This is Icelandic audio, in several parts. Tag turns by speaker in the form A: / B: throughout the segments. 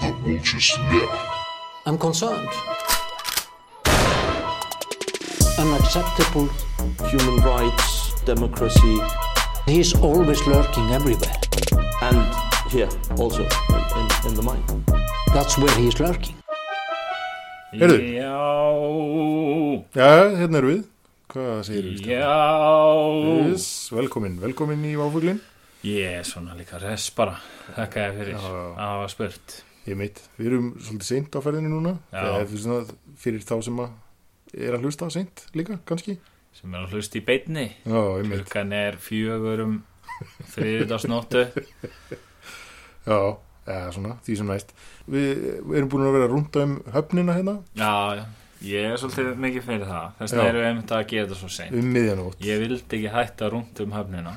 A: The vultures left.
B: I'm concerned. Unacceptable.
C: human rights, democracy,
B: He's always lurking everywhere.
C: and here also in, in, in the mind.
B: That's where he is lurking.
D: Heyrðu.
E: Já,
D: Já, hérna erum við. Hvað segir við?
E: já,
D: Yes, velkomin, velkomin í Váfuglin.
E: ég er svona líka res bara, þakka ég fyrir
D: Já,
E: að
D: já.
E: hafa spurt.
D: Ég meit, við erum svolítið seint á ferðinu núna.
E: Já.
D: Það er svona fyrir þá sem að er að hlusta seint líka, kannski.
E: Sem er að hlusta í beinni,
D: Já, ég meit.
E: klukkan er fjögur um þriðdagsnóttu.
D: Já, eða svona, því sem næst. Við, við erum búin að vera að runda um höfnina hérna,
E: Já, já, ég er svolítið mikið fyrir það, þess
D: Já.
E: vegna erum við einmitt að gera þetta svo seint.
D: um miðjanótt.
E: Ég vildi ekki hætta rúnt um höfnina,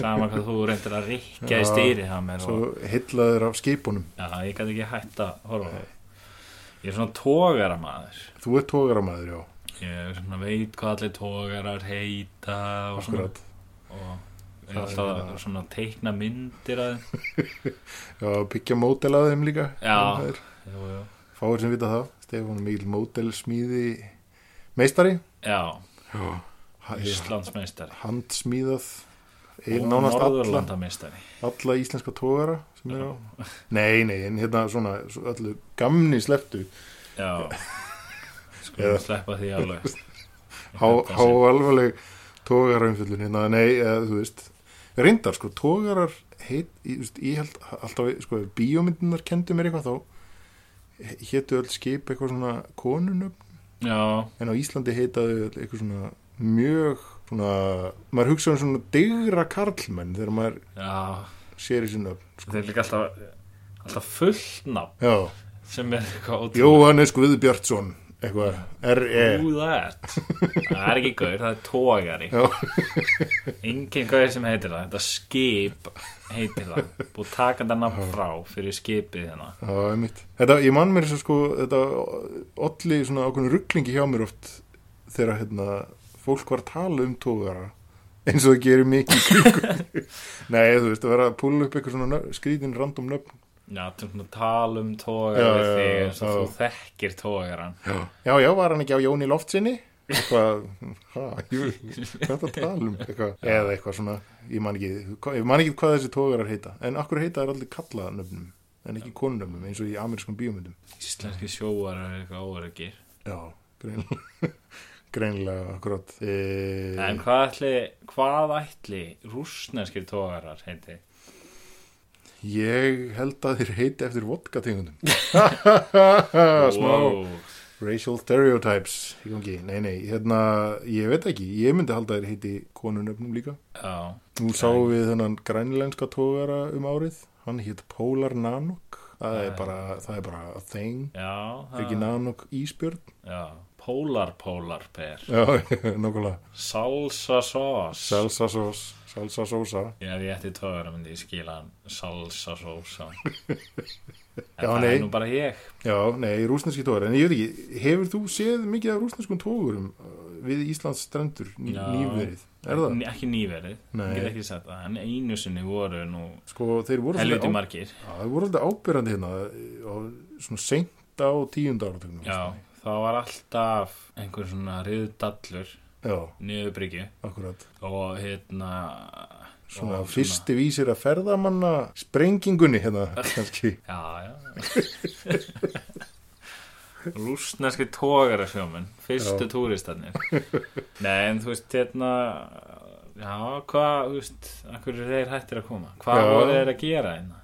E: sama hvað þú reyndir að rikja
D: Já,
E: í stýri það mér og
D: Svo heillaður af skeipunum.
E: já, ég gæti ekki hætta að horfa á það. Ég er svona tógara maður.
D: Þú ert tógaramæður, já,
E: Ég er svona veit hvað allir tógarar heita og svona
D: akkurat.
E: og er
D: Það
E: alltaf
D: er meina-
E: svona að teikna myndir að þeim.
D: Já, byggja mótel að þeim líka.
E: Já.
D: Það er
E: Jú, jú.
D: Fáir sem vita það. Stefán er mikil mótelsmíði meistari.
E: Já,
D: Já.
E: Íslandsmeistari
D: handsmíðað
E: og
D: ein, nánast alla,
E: Norðurlandameistari
D: alla íslenska tógara sem er á nei, nei, en hérna svona svo öllu gamni slepptu
E: Já
D: Eða-
E: Skulum sleppa því alveg
D: há, há alvarleg tógarumfjöldun hérna, nei, eða, þú veist reyndar, sko, tógarar heit, í- þú veist, ég held alltaf, sko, ef bíómyndunar kendu mér eitthvað þá hétu öll skip eitthvað svona konunöfn,
E: Já,
D: en á Íslandi heitaðu öll eitthvað svona mjög svona, maður hugsa um svona digra karlmenn þegar maður
E: já
D: sér í sinna
E: Þetta er líka alltaf, alltaf fullt nafn
D: já
E: sem er eitthvað ótrúlega
D: Jóhannes Guðbjörnsson eitthvað, E. R.E.
E: Who that? Það er ekki gaur, það er tógari
D: Já.
E: Engin gaur sem heitir það Þetta skip heitir það Búið að taka þetta nafn frá fyrir skipið hérna
D: Já, einmitt. Þetta, ég man mér svo sko, þetta olli svona ákveðin rugglingi hjá mér oft þegar hérna, fólk var að tala um tóðara eins og það gerir mikið í kringum Nei, þú veist, að vera að púla upp eitthvað svona nöfn, skrítin random nöfn
E: Já, þetta er svona tal um tógar
D: Já,
E: við
D: já,
E: þig
D: já,
E: eins og
D: já.
E: þú þekkir tógaran
D: Já, já, var hann ekki á Jóni Loftsinni? Eitthvað, hæ, jú, hvað er það að tala um? Eitthvað, eða eitthvað svona, ég man ekki, ég man ekki hvað þessi tógarar heita. En akkur heita er allir kallaðanöfnum, en ekki konunöfnum, eins og í amerískum bíómyndum.
E: Íslenski sjóar er eitthvað óryggir
D: Já, greinlega, greinlega, akkurat. E,
E: En hvað ætli, hvað ætli rúsneskir tógarar heiti?
D: Ég held að þér heiti eftir vodkategundum. Smá
E: Wow.
D: racial stereotypes í gangi. Nei, nei, hérna, ég veit ekki, ég myndi halda að þér heiti konunöfnum líka.
E: Já,
D: Nú sáum við þennan grænlenska tógara um árið, hann hétt Polar Nanok, það er bara, það er bara a thing,
E: já,
D: ekki
E: það-
D: Nanok Ísbjörn,
E: já Pólar, pólar, per
D: já, nokkulega,
E: Salsa sós
D: salsa sós, salsa sósa,
E: Já, ef ég ætti tógarar myndi ég skila hann Salsa sósa En
D: Já,
E: það
D: nei.
E: er nú bara ég
D: já, nei, rúsneski tógar, en ég veit ekki, hefur þú séð mikið af rúsneskum tógurum uh, við Íslands strendur ný,
E: Já.
D: nýverið, er það?
E: N- Ekki nýverið,
D: Nei.
E: ég get ekki sagt það En einu sinni voru nú
D: Sko, þeir voru
E: helviti
D: svolítið á-
E: margir
D: Já, þeir voru alltaf ábyrjandi hérna, eh, á svona seint á tíunda áratugnum.
E: Já, það var alltaf einhver svona riðdallur
D: Já,
E: niður bryggju
D: akkurat.
E: og hérna
D: svona
E: og
D: fyrsti vísir að ferðamanna sprengingunni hérna kannski
E: Já, já Rúsneski tógara sjóminn Fyrstu
D: Já.
E: túristarnir Nei, en þú veist, hérna Já, hvað, þú veist Akkur eru þeir hættir að koma Hvað
D: Já.
E: voru þeir að gera hérna?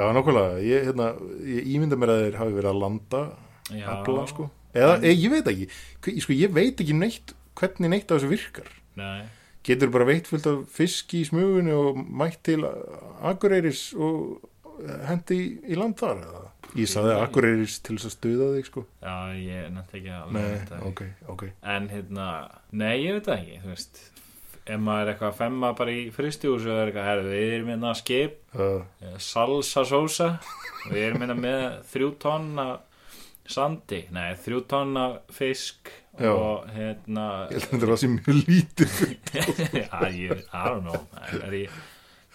D: já nokkulega, ég, hérna, ég ímynda mér að þeir hafi verið að landa
E: Já.
D: afla sko eða e, ég veit ekki, Hve- sko ég veit ekki neitt hvernig neitt af þessu virkar
E: Nei,
D: getur bara veitt fullt af fiski í smugunni og mætt til Akureyris og eh, hendi í, í land þar eða? ég saði Akureyris til þess að stuða þig sko
E: já, ég er nætti ekki alveg
D: nei,
E: þetta.
D: ok, ok
E: En hérna, nei, ég veit það ekki, þú veist Ef maður er eitthvað að femma bara í fristjús og er eitthvað, herðu, við erum hérna að skip
D: uh,
E: eh, salsa sósa og við erum hérna með þrjú tonna sandi, nei, þrjú tonna fisk
D: Já.
E: og hérna
D: ég held að það sé mjög lítið
E: Já, ég, I don't know man. er ég,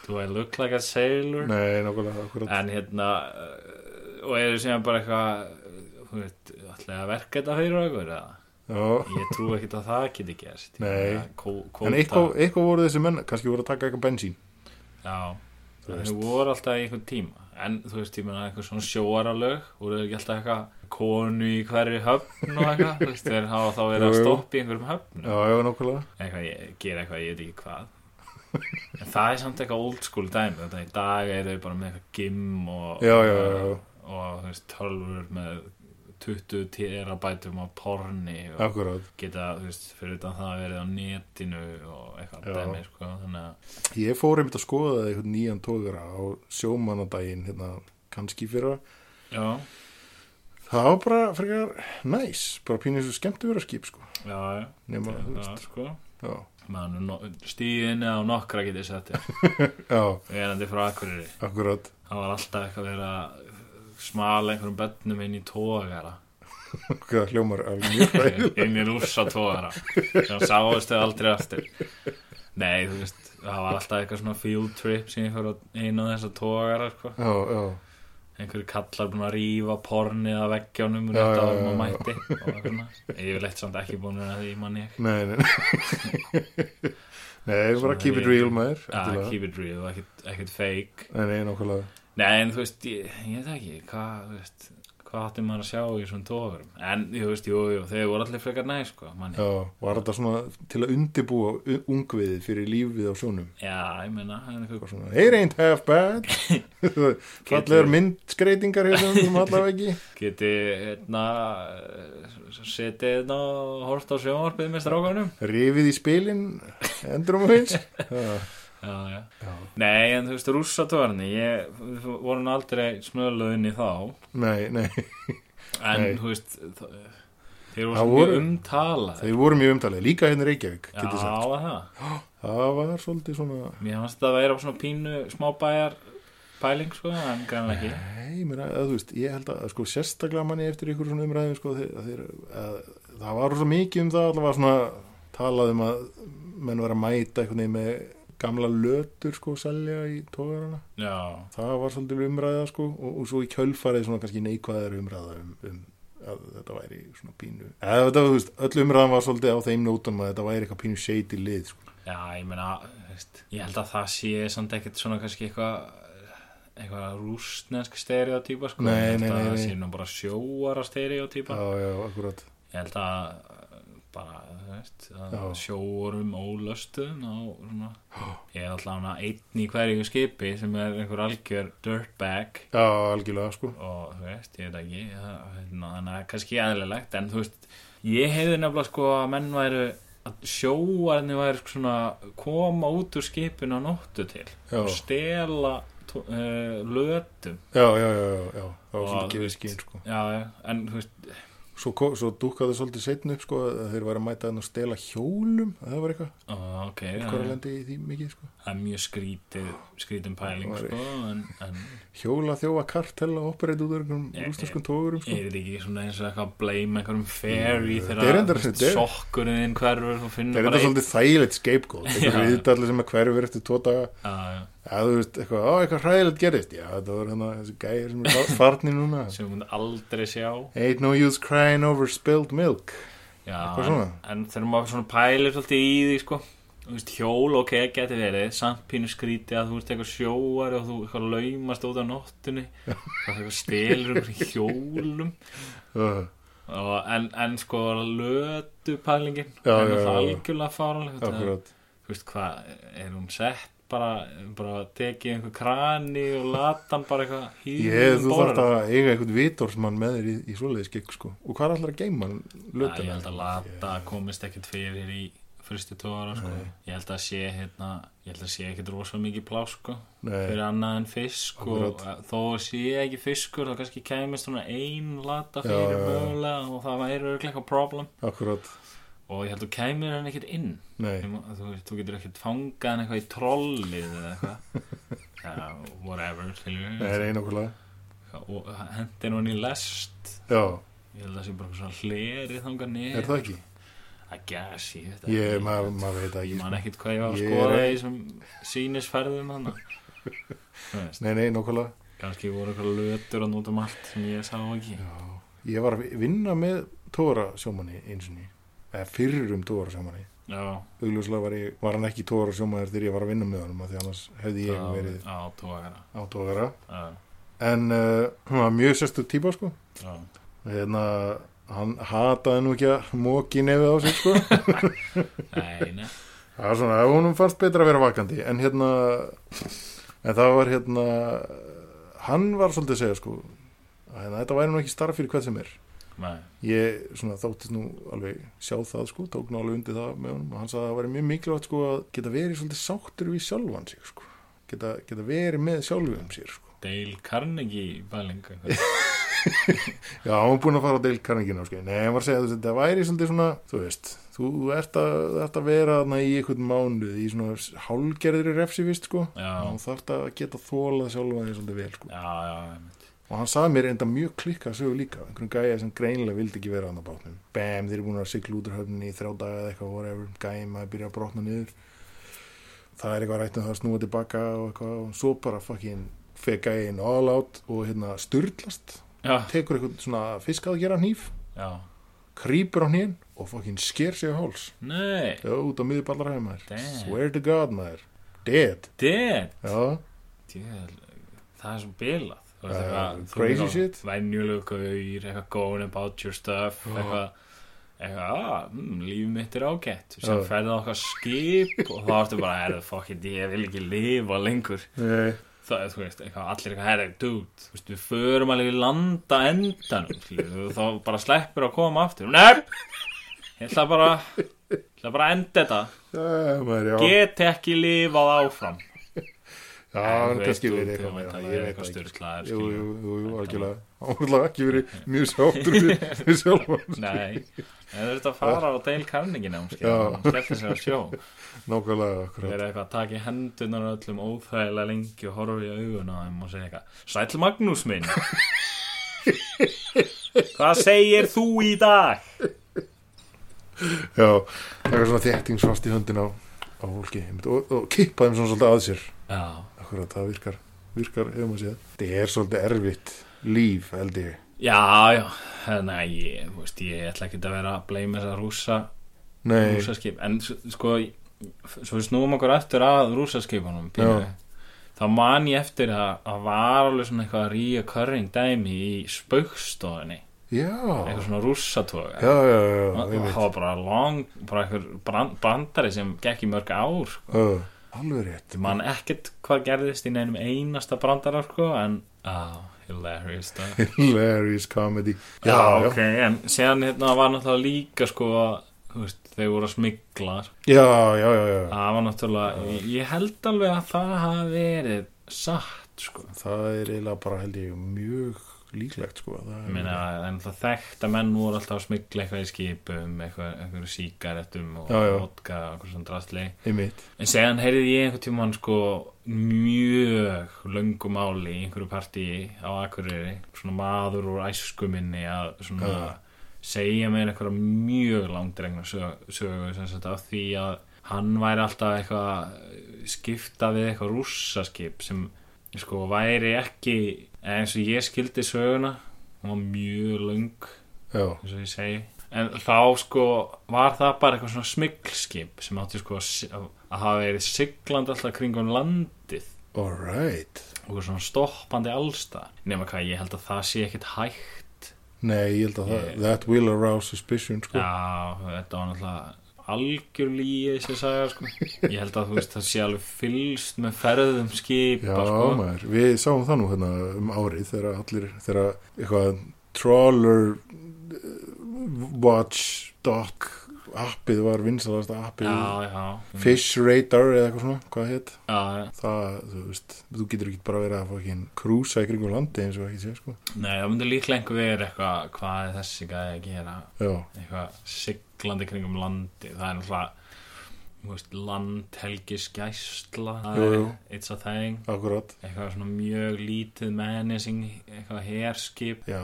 E: do I look like a sailor?
D: nei, nokkulega, akkurat
E: En hérna eh, og eru síðan bara eitthvað þú veit, ætlaði að verka þetta fyrir okkur eða?
D: Já.
E: ég trú ekkert að það geti gerst
D: Nei.
E: Eða kó, kóta.
D: en eitthvað, eitthvað voru þessi menn kannski voru að taka eitthvað bensín
E: Já, þau voru alltaf í einhvern tíma En þú veist, ég meina eitthvað svona sjóaralög voru þeir ekki alltaf eitthvað konu í hverju höfn og eitthvað Þú veist, þeir hafa þá verið að
D: Jú, jú.
E: stoppa í einhverjum höfn
D: já, já, nákvæmlega
E: Eitthvað, ég gera eitthvað, ég veit ekki hvað En það er samt eitthvað old school dæmi Þetta í dag er þau bara með eitthvað gym og,
D: Já, já, já, já.
E: og þú veist, tölvur með 20 terabætum á porni og
D: akkurát
E: geta, þú veist, fyrir utan það að verið á netinu og eitthvað
D: Já.
E: dæmi, sko, þannig að
D: ég fór einmitt að skoða eitthvað nýjan tókara á sjómannadaginn hérna, kannski fyrir
E: Já,
D: það var bara frekar næs bara pínir þessu skemmt að vera skip sko
E: já, já
D: nema, þú
E: Já,
D: veist,
E: sko
D: já,
E: Man, no, stíðinni á nokkra getið sett þér.
D: já,
E: verandi frá Akureyri
D: akkurát
E: það var alltaf eitthvað verið að smala einhverjum bönnum inn í tógara
D: hvað hljómar alveg mjög ræðilega.
E: inn í rússa tógara sem sáðust þau aldrei aftur nei, þú veist, það var alltaf eitthvað svona field trip sem ég fór á einu af þessa tógara sko.
D: já, já,
E: einhverju kallar búin að rífa pornið að veggjónum
D: Já,
E: rétt
D: já,
E: árum og
D: já, já.
E: mætti og eitthvað svona. ég vil eitt samt ekki búin að því manni ég
D: nei, nei nei, bara
E: Svona
D: keep it
E: ég-
D: real maður
E: Ah,
D: endilega.
E: keep it real, ekkert, ekkert fake
D: nei, nei, nákvæmlega
E: Nei, en þú veist, ég, ég veit ekki, hvað, þú veist, hvað átti maður að sjá í svona tóðurum? En, þú veist, jú, jú, þau voru allir frekar næ, sko, manni.
D: já, var þetta svona til að undibúa u- ungviðið fyrir lífið á sjónum
E: Já, ég meina, það er
D: Bara
E: eitthvað,
D: svona, hey, it ain't half bad fallegar myndskreitingar hérna um allavegi
E: geti, hérna, eh, setið hérna og hort á sjónvarpið með strákanum.
D: rifið í spilin endur um aðeins
E: Já, já.
D: Já.
E: Nei, en þú veist, rússatóðarni, ég, við vorum aldrei smöluð inn í þá,
D: nei, nei,
E: en,
D: Nei.
E: þú veist, þ- þeir voru
D: Það
E: svo mjög
D: voru-
E: umtalað.
D: þau voru mjög umtalið líka hérna í Reykjavík,
E: Já,
D: getur sagt
E: var það.
D: það var svolítið svona
E: Mér fannst þetta að vera svona pínu smábæjar pæling, sko, en gæmlega ekki.
D: Nei, mér að, að þú veist, ég held að sko, sérstaklega manni eftir ykkur svona umræðum sko, þeir, að þeir, að, það var svo mikið um það allavega svona talað um að menn var að mæta einhvern veginn með gamla lötur sko selja í tógarana
E: Já,
D: það var svolítið umræða sko og, og svo í kjölfarið svona kannski neikvæðar umræða um, um að þetta væri svona pínu eða þetta, þú veist, öll umræðan var svolítið á þeim nótum að þetta væri eitthvað pínu shady lið sko.
E: Já, ég meina, þú veist, ég held að það sé samt ekkert svona kannski eitthvað eitthvað rústnensk stereotýpa sko.
D: Nei,
E: ég held
D: nei,
E: að
D: nei,
E: það
D: nei.
E: sé nú bara sjóara stereotýpa
D: já, já, akkurat
E: ég held að uh, bara, þú veist, að
D: Já.
E: sjórum ólöstuðum á svona ég er alltaf hana einn í hverju skipi sem er einhver algjör dirtbag
D: já, algjörlega sko
E: og þú veist, ég veit ekki það- hérna, þannig að kannski aðlilegt en þú veist, ég hefði nefnilega sko að menn væru að sjóarni væru sko svona koma út úr skipinu á nóttu til
D: Já.
E: og stela uh, lötum
D: já, já, já, já, já, það var
E: Og
D: svolítið
E: þú
D: gefið
E: veist,
D: skinn sko
E: já, já, en þú veist
D: Svo, ko- svo dúkkaði svolítið setn upp sko að þeir væri að mæta hann og stela hjólum að það var eitthvað,
E: ó, ok,
D: hvað er
E: það,
D: lendi í því mikið sko
E: það er mjög skrítið skrítin pæling
D: Það væri-
E: sko, en, en
D: hjóla þjófa kartella og opereit út af einhverjum
E: Ég-
D: rústaskum tógurum sko
E: er þetta ekki svona eins og eitthvað að blame einhverjum fairy
D: Þetta er
E: þegar
D: Mm, reyndar-
E: þú veist,
D: þetta er-
E: sokkurinn þinn hverfur þú
D: það
E: finnur
D: er þetta
E: bara einn
D: svolítið þægilegt scapegoat
E: Já.
D: eitthvað viðtalli sem að hverfur eftir tvo daga
E: Já, já,
D: að þú veist eitthvað, á eitthvað hræðilegt gerist já það var hérna þessi gæðir sem er fa- farnir núna
E: sem þú myndi aldrei sjá
D: ain't no use crying over spilled milk
E: Já,
D: Eitthvað
E: en,
D: svona.
E: en þegar maður svona pælir svolítið í því sko Þú veist, hjól ok, geti verið samt pínu skríti að þú ert eitthvað sjóar og þú eitthvað laumast út á nóttunni og eitthvað stelur um hjólum
D: uh,
E: og, en, en sko lötu pælingin
D: Já,
E: er náttúrulega
D: já, já, já.
E: algjörlega fáranlega
D: akkurat
E: þú veist hvað, er hún sett bara, bara tekið einhver krani og latan bara eitthvað
D: ég, þú þarft
E: borðinu?
D: að eiga eitthvað vitorsmann með þér í, í svoleiðis gig sko og hvað er allar að geima hann
E: Já, ég
D: lötuna?
E: held að lata komist ekkert fyrir í fyrstu tóra sko. ég held að sé hérna, ég held að sé ekkert rosa mikið plá sko,
D: Nei,
E: fyrir annað en fisk og
D: Akkurat.
E: þó sé ekki fiskur þá kannski kæmist svona ein lata
D: Já,
E: fyrir
D: já, já.
E: mögulega og það væri örugglega eitthvað problem
D: akkurat
E: og ég held að þú kæmir hann ekkert inn
D: Nei.
E: Ég má- þú, þú getur ekkert fangað hann eitthvað í trollið eða eitthvað Já, whatever
D: Nei,
E: skilur
D: það er einhverjulega.
E: og hendir hann í lest
D: Já,
E: ég held að það sé bara svona hleri þangað niður
D: er það ekki?
E: I guess, ég veit
D: Ég, maður maður veit það
E: Ég
D: ekki. sko.
E: man ekkert hvað ég var að
D: Ég
E: skoða
D: er-
E: í þessum sínisferðum hann
D: Nei, nei, nákvæmlega.
E: kannski voru eitthvað lötur að nota um allt sem ég sá ekki
D: Ég var að vinna með tóra sjómanni eins og ný, eða fyrrum tóra sjómanni.
E: já,
D: Augljóslega var, ég, var hann ekki tóra sjómanni þegar ég var að vinna með honum, af því annars hefði ég verið
E: á tókara
D: á tóra.
E: hérna. já,
D: En uh, hún var mjög sérstu típa, sko.
E: já,
D: Hérna, hann hataði nú ekki að móki nefið á sig, sko.
E: nei, nei
D: Það var svona, ef honum fannst betra að vera vakandi en hérna en það var hérna hann var svolítið að segja sko að hérna, þetta væri nú ekki starf fyrir hvað sem er
E: Nei,
D: ég svona þáttist nú alveg sjá það sko, tók nú alveg undir það með honum og hann sagði að það væri mjög mikilvægt sko að geta verið svolítið sáttur við sjálfan sig sko geta, geta verið með sjálfum sér sko
E: Dale Carnegie bæling
D: já, hann var búin að fara á deil kanningina sko. nei, hann var að segja þess að þetta væri svolítið svona þú veist, þú ert að, þú ert að vera þarna í einhvern mánuð í svona hálgerðri refsivist sko
E: Já,
D: hann þarf að geta þólað sjálfa því svolítið vel sko.
E: já, já, einmitt.
D: og hann sagði mér enda mjög klikka sögu líka einhverjum gæja sem greinilega vildi ekki vera hann á bátnum bam, þeir eru búin að sigla út úr höfninni í þrjá daga eða eitthvað whatever, gæja maður byrja að brotna niður það er eitthvað rætt um það að snúa tilbaka og eitthvað og svo bara fucking feg gæjin all out og hérna styrlast
E: já,
D: tekur eitthvað svona fisk að gera hníf
E: já
D: krýpur á hnín og fucking sker sig á háls
E: Nei,
D: Já, út á miðballarhæði maður
E: Damn.
D: swear to god maður dead
E: dead
D: já
E: Djöðl, það er svo bilað Þú veist eitthvað, þú
D: Já, Eh, crazy
E: veist,
D: shit.
E: venjulegu gaur, eitthvað going about your stuff eitthvað eitthvað, ah, mm, líf mitt er ágætt sem
D: Já.
E: ferði á okkar skip og þá ertu bara, herðu, fuck it, ég vil ekki lifa lengur
D: Nei.
E: það er, þú veist, eitthvað, allir eitthvað, herðu, dude þú veist, við förum alveg í landa endanum skilur, og þá bara sleppur að koma aftur Nei, ég ætla bara ég ætla bara að enda þetta
D: Já, maður, já.
E: get ekki lifað áfram
D: Já,
E: En
D: hann
E: þú
D: kannski
E: veist,
D: verið
E: þú- þú
D: eitthvað meira,
E: væntanlega
D: ég
E: er
D: veit
E: eitthvað
D: það ekki.
E: sturlaður,
D: Jú,
E: skilur.
D: jú, jú, jú, algjörlega Hann var ekki verið mjög sáttur við, við sjálfan
E: Nei, það er þetta að fara á Dale Carnegie námskeið,
D: Já.
E: hann skellti sér á sjó
D: Nákvæmlega akkurat
E: þeir eru eitthvað að taka í hendunar öllum óþægilega lengi og horfa í augun á þeim og segja eitthvað Sæll Magnús minn Hvað segir þú í dag?
D: Já, eitthvað svona þéttingsfast í höndin á, á fólki einmitt, og, og kippa þeim svona svolítið að sér
E: Já,
D: Akkurat, það virkar, virkar hefur maður séð Það er svolítið erfitt líf, held ég
E: já, já þannig að ég, þú veist, ég ætla ekki að vera að bleima þessa rúsa,
D: Nei,
E: rúsaskip en s- sko, svo við snúum okkur eftir að rúsaskipunum pínu.
D: Já.
E: þá man ég eftir að það var alveg svona eitthvað reoccurring dæmi í spaukstofunni
D: já
E: eitthvað svona rússatóga
D: Já, já, já, já,
E: og
D: einmitt
E: það var bara long bara einhver brand, brandari sem gekk í mörg ár sko.
D: Ö, Alveg rétt
E: ég man ekkert hvað gerðist í neinum einasta brandara sko, en oh, hilarious stuff
D: Hilarious comedy
E: já,
D: Já, já,
E: ok, en séðan hérna var náttúrulega líka sko að þú veist, þeir voru að sko. smigla
D: já, já, já, já.
E: það var náttúrulega, ég held alveg að það hafi verið satt sko
D: Það er eiginlega bara, held ég, mjög líklegt sko Það er-
E: Ég meina, það er náttúrulega þekkt að menn voru alltaf að smigla eitthvað í skipum, eitthvað, eitthvað síkaretum og
D: Já, já.
E: vodka og eitthvað svona drastli
D: Einmitt.
E: En segjan heyrði ég einhvern tímann sko mjög löngu máli í einhverju partí á Akureyri svona maður úr æsku minni að svona segja mér einhverja mjög langdregna sög- sögu sem sagt af því að hann væri alltaf eitthvað að skipta við eitthvað rússaskip sem sko væri ekki eða eins og ég skildi söguna hún var mjög löng
D: Já,
E: eins og ég segi en þá sko var það bara eitthvað svona smygglskip sem átti sko að si- að hafa verið sigland alltaf kringum landið
D: alright
E: og svona stoppandi allstað nema hvað ég held að það sé ekkit hægt
D: Nei, ég held að
E: Ég-
D: það That will arouse suspicion sko.
E: já, þetta var náttúrulega algjör líið sem sagði sko. ég held að þú veist það sé alveg fylst með ferðum skipa
D: Já,
E: sko.
D: maður, við sáum það nú hérna um árið þegar allir, þegar eitthvað trawler eh, watch dock appið var vinsalast appið
E: já, já
D: Fish Radar eða eitthvað svona, hvað það hétt
E: já, já.
D: það, þú veist, þú getur ekki bara verið að fókin krúsa í kringum landi eins og ekki sé sko.
E: nei, það myndi líklega einhver verið eitthvað hvað er þessi gæði að gera
D: Já,
E: eitthvað siglandi kringum landi það er náttúrulega þú veist, landhelgisgæsla það
D: Jú,
E: er
D: jú.
E: it's a thing
D: akkurat
E: eitthvað svona mjög lítið menacing, eitthvað herskip
D: Já,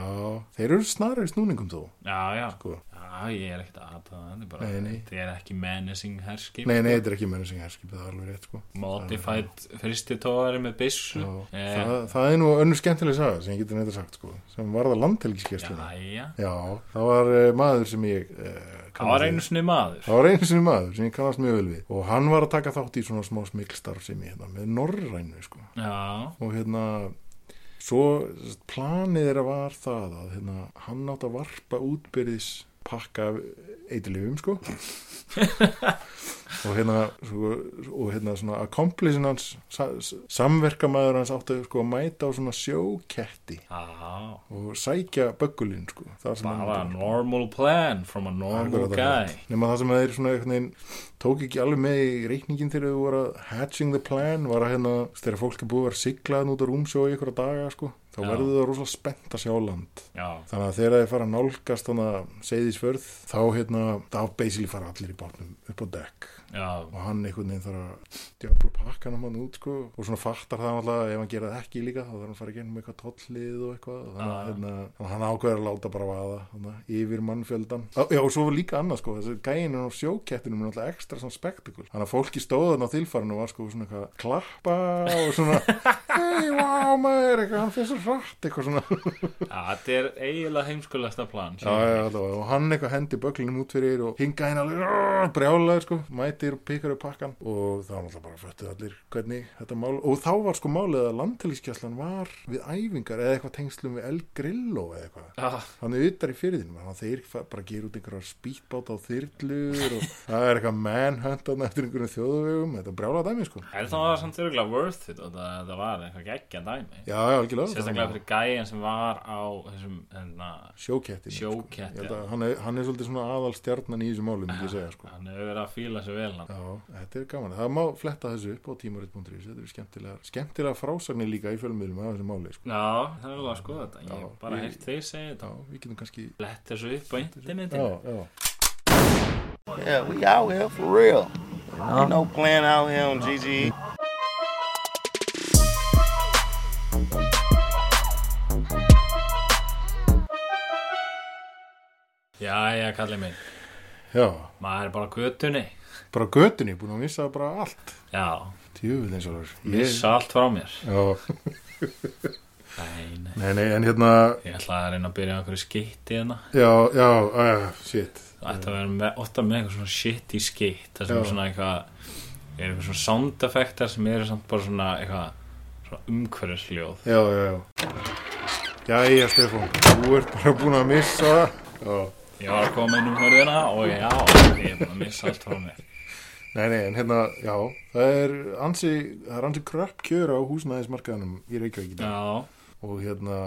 D: þeir eru snarri í snúningum þó
E: já já,
D: Sko.
E: já ég er ekkert aðtöða það, þetta er bara,
D: Nei, nei.
E: þetta er ekki menacing herskip.
D: Nei, nei, þetta er ekki mennsing herskip Það er alveg rétt sko
E: Modified fristitogari með byssu.
D: Já,
E: Eh,
D: það, það er nú önnur skemmtileg saga sem ég getur neitt sagt sko sem varða landhelgiskessluna
E: Jæja,
D: Já, það var uh, maður sem ég uh,
E: það var einu sinni maður.
D: Það var einu sinni maður sem ég kannast mjög vel við og hann var að taka þátt í svona smá smilstarf sem ég hérna með norrænu sko
E: Já,
D: og hérna svo sem sagt, planið er að var það að hérna, hann átt að varpa útbyrðis pakka eitilifum sko og hérna svo, og hérna svona accomplisin hans sa- samverkamaður hans átti sko að mæta á svona sjóketti
E: já,
D: og sækja böggulinn sko þar sem hann
E: bara
D: átti-
E: normal plan from a normal
D: Akkurat,
E: guy.
D: akkurat. nema það sem þeir svona einhvern veginn tók ekki alveg með í reikningin þegar þau voru að hatching the plan var að hérna þegar fólk er búið að vera siglaðan út á rúmsjó í einhverja daga sko þá
E: Já.
D: verður það rosalega spennt að sjá land
E: Já,
D: þannig að þegar þeir fara að nálgast þannig að segðisförð þá hérna þá basically fara allir í bátnum upp á dekk
E: já,
D: og hann einhvern veginn þarf að djöfla pakkanum hann út sko og svona fattar það alltaf að ef hann gera það ekki líka þá þarf hann að fara í gennum eitthvað tollið og eitthvað og þannig
E: Ah.
D: að hérna, og hann ákveður að láta bara vaða hana, yfir mannfjöldan Á, já og svo var líka annað sko þessi gæin á sjókettinum er alltaf ekstra svona spektakul þannig að fólki stóðan á þilfarinu og var sko svona eitthvað að klappa og svona hei wow maður eitthvað hann fyrir svo hratt eitthvað svona
E: já, þetta er eiginlega heimskulegsta plan.
D: Já, já, þetta var, og hann eitthvað hendi böglinum út fyrir og hinga henn alveg "Arr", brjálaður sko, mætir og pikkar upp pakkan og þá náttúrulega bara föttuð allir hvernig þetta mál, og þá var sko málið að landtæliskjæslan var við æfingar eða eitthvað tengslum við El Grillo eða eitthvað
E: Já,
D: hann er yttar í fyrirðinum, þannig að þeir fa- bara gera út einhverjar spýtbáta á þyrlur og það er eitthvað manhundan eftir einhverjum þjóðuvegum, þetta brjála dæmi sko
E: En það var samt örgulega worth it og það, það var eitthvað geggja dæmi
D: Já, já, algjörlega
E: Sérstaklega fyrir gæjan sem var á þessum hérna,
D: sjókettin
E: Sjókett, já.
D: hann, er- hann er svolítið svona aðal stjarnan í þessu málum, myndi ég segja sko
E: Hann hefur verið að fíla sig vel hann
D: Já, þetta er gaman. Það má fletta þessu upp á tímarit.is. Þetta er skemmtilega, skemmtilega frásagnir líka í fjölmiðlum að þessu máli. Sko.
E: Já, það er alveg að skoða þetta Ég hef
D: Já,
E: bara
D: ég-
E: heyrt þeir segja
D: Já,
E: þetta
D: við getum kannski...
E: Lett þessu upp á interneti
D: Já, já.
F: Yeah, we out here for real. Ain't no plan out here on GGE.
E: Já, já, kallið minn
D: Já,
E: Maður er bara á götunni
D: bara á götunni, búin að missa bara allt.
E: Já,
D: Tjöfuð eins og þess.
E: missa allt frá mér
D: Já,
E: Nei, nei
D: nei, nei, en hérna...
E: Ég ætlaði að reyna að byrja á einhverju skitti hérna
D: Já, já, uh, shit.
E: Það ætti að vera með, ofta með eitthvað svona shitty skitt Það sem
D: Já.
E: er svona eitthvað Er eitthvað svona sound effectar sem eru samt bara svona eitthvað Svona umhverjusljóð
D: Já, já, já. Jæja, Stefán, þú ert bara búin að missa... Já,
E: Ég var að koma inn um hörðina og já, ég er búin að missa allt frá mér.
D: nei, nei, en hérna, já, það er ansi, það er ansi kröpp kjör á húsnæðismarkaðanum í Reykjavík í dag.
E: Já,
D: Og hérna,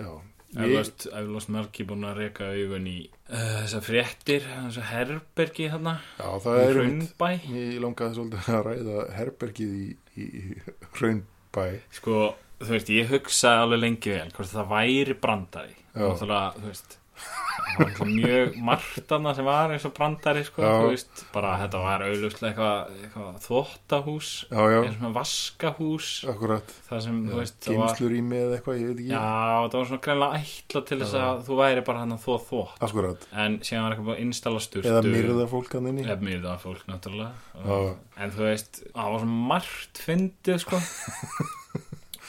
D: já.
E: eflaust eflaust margi búin að reka augun í uh, þessar fréttir, þessar herbergi þarna,
D: Já, það
E: í
D: er... einmitt-
E: Hrunnbæ.
D: Ég langaði svolítið að ræða herbergið í, í, í Hraunbæ.
E: Sko, þú veist, ég hugsaði alveg lengi vel hvort það væri brandari.
D: Já.
E: Náttúrulega, þú veist, það var náttúrulega mjög margt þarna sem var eins og brandari, sko,
D: Já.
E: þú veist, bara þetta var auglustlega eitthvað, eitthvað þvottahús,
D: Já, já,
E: eins og vaskahús,
D: akkurat.
E: það sem, þú veist, það var...
D: Geimslur í mig eða eitthvað, ég veit ekki.
E: Já, það var svona greinlega ætla til þess að þú væri bara hann að þó þvótt
D: Akkurat.
E: En síðan var eitthvað búið að installa sturtu
D: Eða myrða fólk hann inni.
E: Eða myrða fólk, náttúrulega
D: Já.
E: En þú veist, það var svona margt fyndið, sko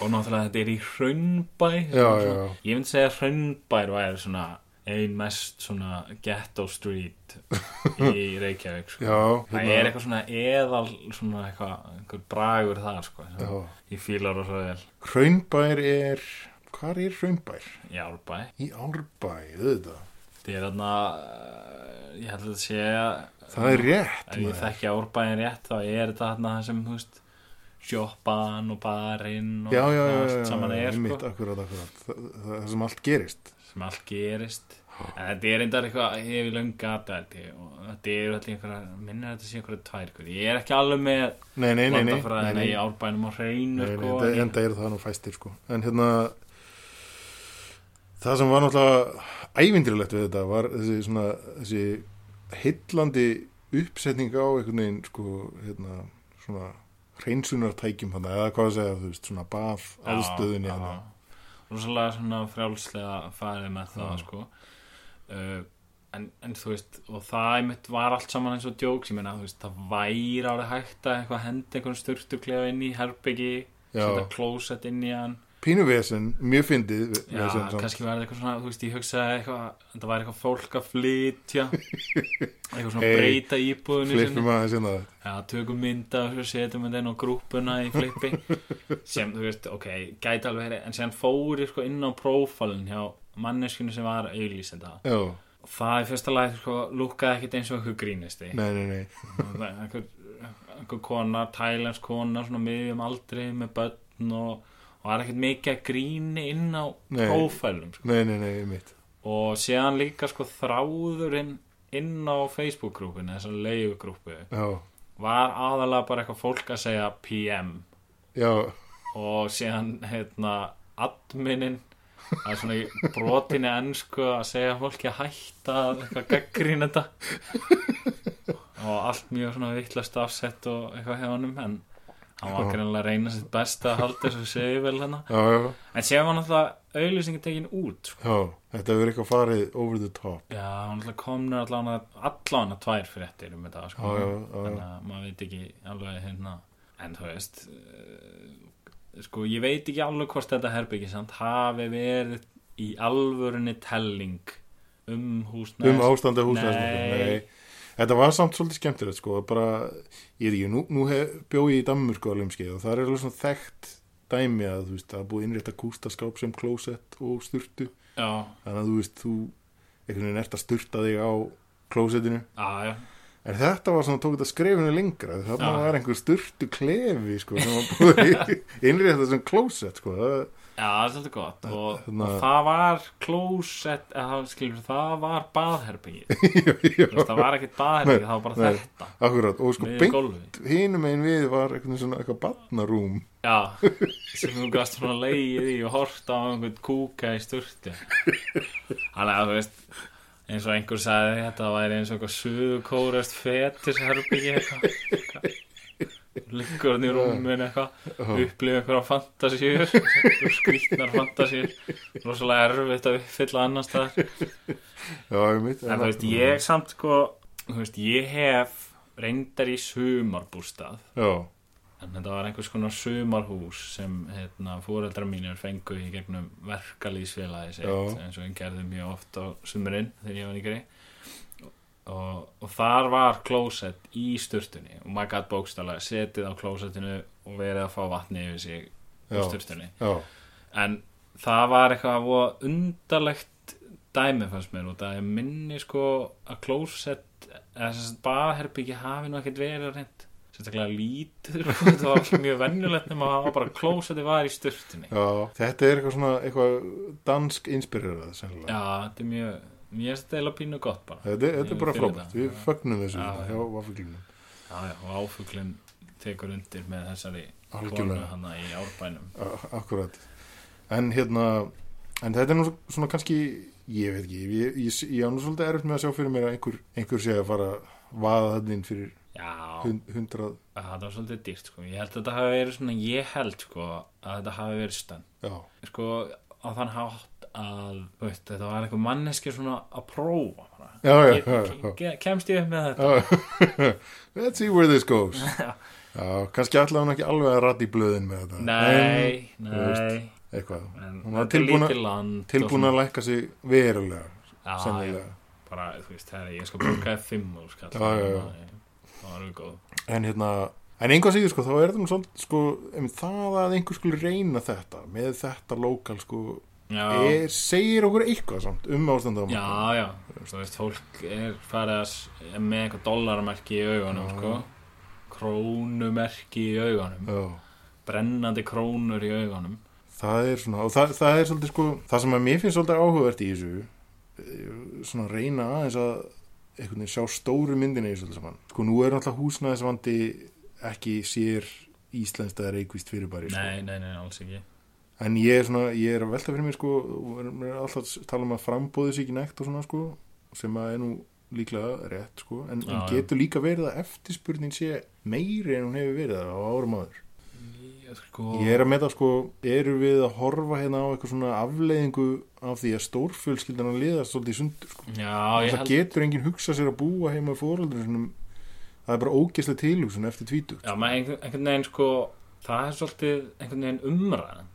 E: Og náttúrulega þetta er í hraunbæ
D: Já,
E: Hérna svona-
D: já, já.
E: Ég myndi segja að hraunbær væri svona ein mest svona ghetto street í Reykjavík, sko
D: Já, hérna-
E: Það er eitthvað svona eðal, svona eitthvað, einhver bragur þar, sko sem
D: Já.
E: Ég fílar og svo vel
D: Hraunbær er, hvar er Hraunbær?
E: í Árbæ
D: Í Árbæ, auðvitað.
E: Þetta er þarna, uh, ég held að þetta sé að
D: Það er rétt.
E: ef ég
D: maður.
E: þekki árbæðin rétt þá er þetta þarna það sem, þú veist, sjoppan og barinn og
D: Já, já, já,
E: allt
D: já, já,
E: saman er,
D: mitt,
E: sko,
D: akkurat, akkurat, það, það sem allt gerist.
E: sem allt gerist. En þetta er reyndar eitthvað, ég hef í löng gata held ég og þetta eru allir einhverja, minnir að þetta sé einhverja tvær, sko. Ég er ekki alveg með
D: Nei, nei, nei, nei, nei,
E: landafræðina
D: nei,
E: í árbænum og hreinu,
D: Nei, nei,
E: sko.
D: enda-
E: Nei,
D: enda er það nú fæstir sko en hérna það sem var náttúrulega ævindrilegt við þetta var þessi svona þessi heillandi uppsetning á einhvern veginn sko hérna svona hreinsunartækjum hann eða hvað að segja þú veist svona bað aðstöðunni hann
E: Rósalega svona frjálslega farið með það,
D: Já.
E: sko. Uh, en, en þú veist, og það einmitt var allt saman eins og djóks, ég meina, þú veist, það væri árið hægt að eitthvað henda einhvern sturtuklefa inn í herbyggi,
D: Já.
E: setja klósett inn í hann,
D: Pínu vesen, mjög fyndið ve-
E: já,
D: vesen samt.
E: kannski var þetta eitthvað svona, þú veist, ég hugsaði eitthvað, en það væri eitthvað fólk að flytja, eitthvað svona
D: Hey,
E: breyta íbúðinu
D: Flippum aðeins hérna. inn að það
E: Já, tökum mynda og svo setjum við þenn á grúpuna í flippi sem, þú veist, ok, gæti alveg verið en séðan fóri sko inn á prófalin hjá manneskinu sem var auðlýsenda
D: Já,
E: það í fyrsta lagi, sko, lúkkaði ekkit eins og eitthvað grínisti
D: nei, nei, nei
E: Og það- einhver, einhver kona, tælens kona svona miðjum aldri með börn og, og var ekkit mikið að gríni inn á
D: Nei.
E: prófælum sko.
D: Nei, nei, nei, mitt
E: og séðan líka sko þráðurinn inn á Facebook-grúpuna, þessar leiðugrúpu
D: Já,
E: var aðalega bara eitthvað fólk að segja PM
D: já,
E: og síðan hérna adminin að svona brotinni ennsku að segja fólki að hætta að eitthvað gaggrín þetta og allt mjög svona vittlast afsett og eitthvað hjá honum en hann var greinlega að reyna sitt besta að halda þessu segju vel hana
D: já, já,
E: en séðan var náttúrulega auðlýsingin tekin út sko.
D: já Þetta verður eitthvað farið over the top
E: já, hann náttúrulega komnur allan að allan að tvær fréttir um þetta sko.
D: Já, já, já, já,
E: þannig að maður veit ekki alveg hérna en þú veist eh, sko ég veit ekki alveg hvort þetta herbyggi samt hafi verið í alvörunni telling um húsnæðis
D: Um ástandi húsnæðismarkaði
E: Nei.
D: Þetta var samt svolítið skemmtilegt sko að bara, ég veit ekki, nú, nú hef, bjó ég í Danmurku alveg um skeið og það er alveg svona þekkt dæmi að þú veist, það er búið innrétta kústaskáp sem klósett og sturtu
E: já,
D: þannig að þú veist, þú einhvern veginn ert að sturta þig á klósettinu
E: já, já,
D: En þetta var svona, tók þetta skrefinu lengra þarna
E: Já.
D: var einhver sturtu klefi sko, sem var búið innrétta sem klósett sko, það,
E: já, það er svolítið gott og,
D: Þarna-
E: og það var klósett eða það- skilur, það var baðherbyggi Þú
D: já,
E: veist, það var ekkert baðherbyggi, það
D: Nei,
E: var bara
D: nei.
E: þetta
D: akkurat og sko,
E: með
D: beint
E: gólfi
D: hinum einn við var eitthvað svona eitthvað barnarúm
E: Já, sem þú gast svona leið í og horta á einhvern kúka í sturtu Þannig að þú veist eins og einhver sagði þetta væri eins og eitthvað suðukórast fetisherbyggi eitthvað eitthvað. liggur hann í rúmin eitthvað upplifa einhverja fantasíur einhverjar skrýtnar fantasíur rosalega erfitt að uppfylla annars staðar
D: já, ég mitt
E: en þú veist ég samt sko þú veist ég hef reyndar í sumarbústað
D: já,
E: En þetta var einhvers konar sumarhús sem hérna, fóreldrar mínir fengu í gegnum verkalýsfélagi sitt,
D: Já.
E: eins og hann gerði mjög oft á sumurinn þegar ég var yngri. Og, og þar var klósett í sturtunni og maður gætt bókstala setið á klósettinu og verið að fá vatni yfir sig úr
D: Já.
E: sturtunni.
D: já,
E: En það var eitthvað voða undarlegt dæmi fannst mér og það er minni sko að klósett eða sem sagt baðherbyggi hafi nú ekkert verið reynd sérstaklega lítið sko, það var allt mjög venjulegt nema að það var bara klósetti var í styrtunni já,
D: já þetta er eitthvað svona eitthvað dansk inspirerað sennilega
E: þetta er mjög mér finnst þetta eila pínu gott bara
D: þetta, er- þetta er bara
E: Ég finn
D: frábært,
E: þetta.
D: við fögnum þessu hérna
E: Já,
D: já,
E: já.
D: já, vaffuglunum
E: já, já, og áfuglinn tekur undir með þessari konu
D: Algjörlega.
E: hana í árbænum
D: A- Akkurat En hérna En þetta er nú svona kannski Ég veit ekki, ég, ég, ég á nú svolítið erfitt með að sjá fyrir mér að einhver, einhver sé að fara að vaða þannig inn fyrir
E: já,
D: hund, hundrað
E: að það var svolítið dýrt sko. ég held að þetta hafi verið svona ég held sko að þetta hafi verið stönd
D: Já,
E: sko á þann hátt að þú veist, þetta var eitthvað manneski svona að prófa bara.
D: já, já,
E: Ég-
D: já, já.
E: ke- kemst ég upp með þetta
D: já. Let's see where this goes Já, kannski ætlaði hún ekki alveg að rata í blöðin með þetta
E: nei, nei
D: veist, Eitthvað,
E: en
D: hún
E: þetta
D: var
E: er
D: tilbúin að-
E: lítið land
D: tilbúin að lækka sig verulega
E: Ah, Já,
D: sennilega.
E: bara, þú veist, herri, ég skal borgaði fimm og skall
D: Já, já, já.
E: það var við góð
D: En hérna En einhvað síður sko, þá er þetta nú svolítið sko, em, það að einhver skulle reyna þetta með þetta lokal sko,
E: já,
D: er, segir okkur eitthvað samt um ástandum
E: já, já þú veist, fólk er farið að s- er með eitthvað dollarmerki í augunum
D: Já.
E: sko. krónumerki í augunum brennandi krónur í augunum
D: það er svona og það, það er svolítið sko það sem að mér finnst svolítið áhugavert í þessu eh, svona að reyna aðeins að einhvern veginn sjá stóru myndina í þessu öllu saman sko nú er náttúrulega húsnæðisvandi ekki sér íslenskt eða reikvist fyrirbæri sko.
E: nei, nei, nei, alls ekki
D: en ég er svona, ég er að velta fyrir mér sko og er- mér er alltaf að tala um að frambóði sér ekki nekt og svona sko sem að er nú líklega rétt sko en,
E: Já,
D: en
E: já.
D: getur líka verið að eftirspurnin sé meiri en hún hefur verið á árum áður
E: Já, sko
D: Ég er að meta sko, eru við að horfa hérna á eitthvað svona afleiðingu af því að stórfjölskyldan að liða svolítið í sundur sko.
E: Já, ég
D: Það
E: held
D: getur enginn hugsað sér að búa heima í fóröldur sinum. Það er bara ógeðslega tilhugsun eftir tvítug.
E: Já, maður einhvern, einhvern veginn sko það er svolítið einhvern veginn umræðan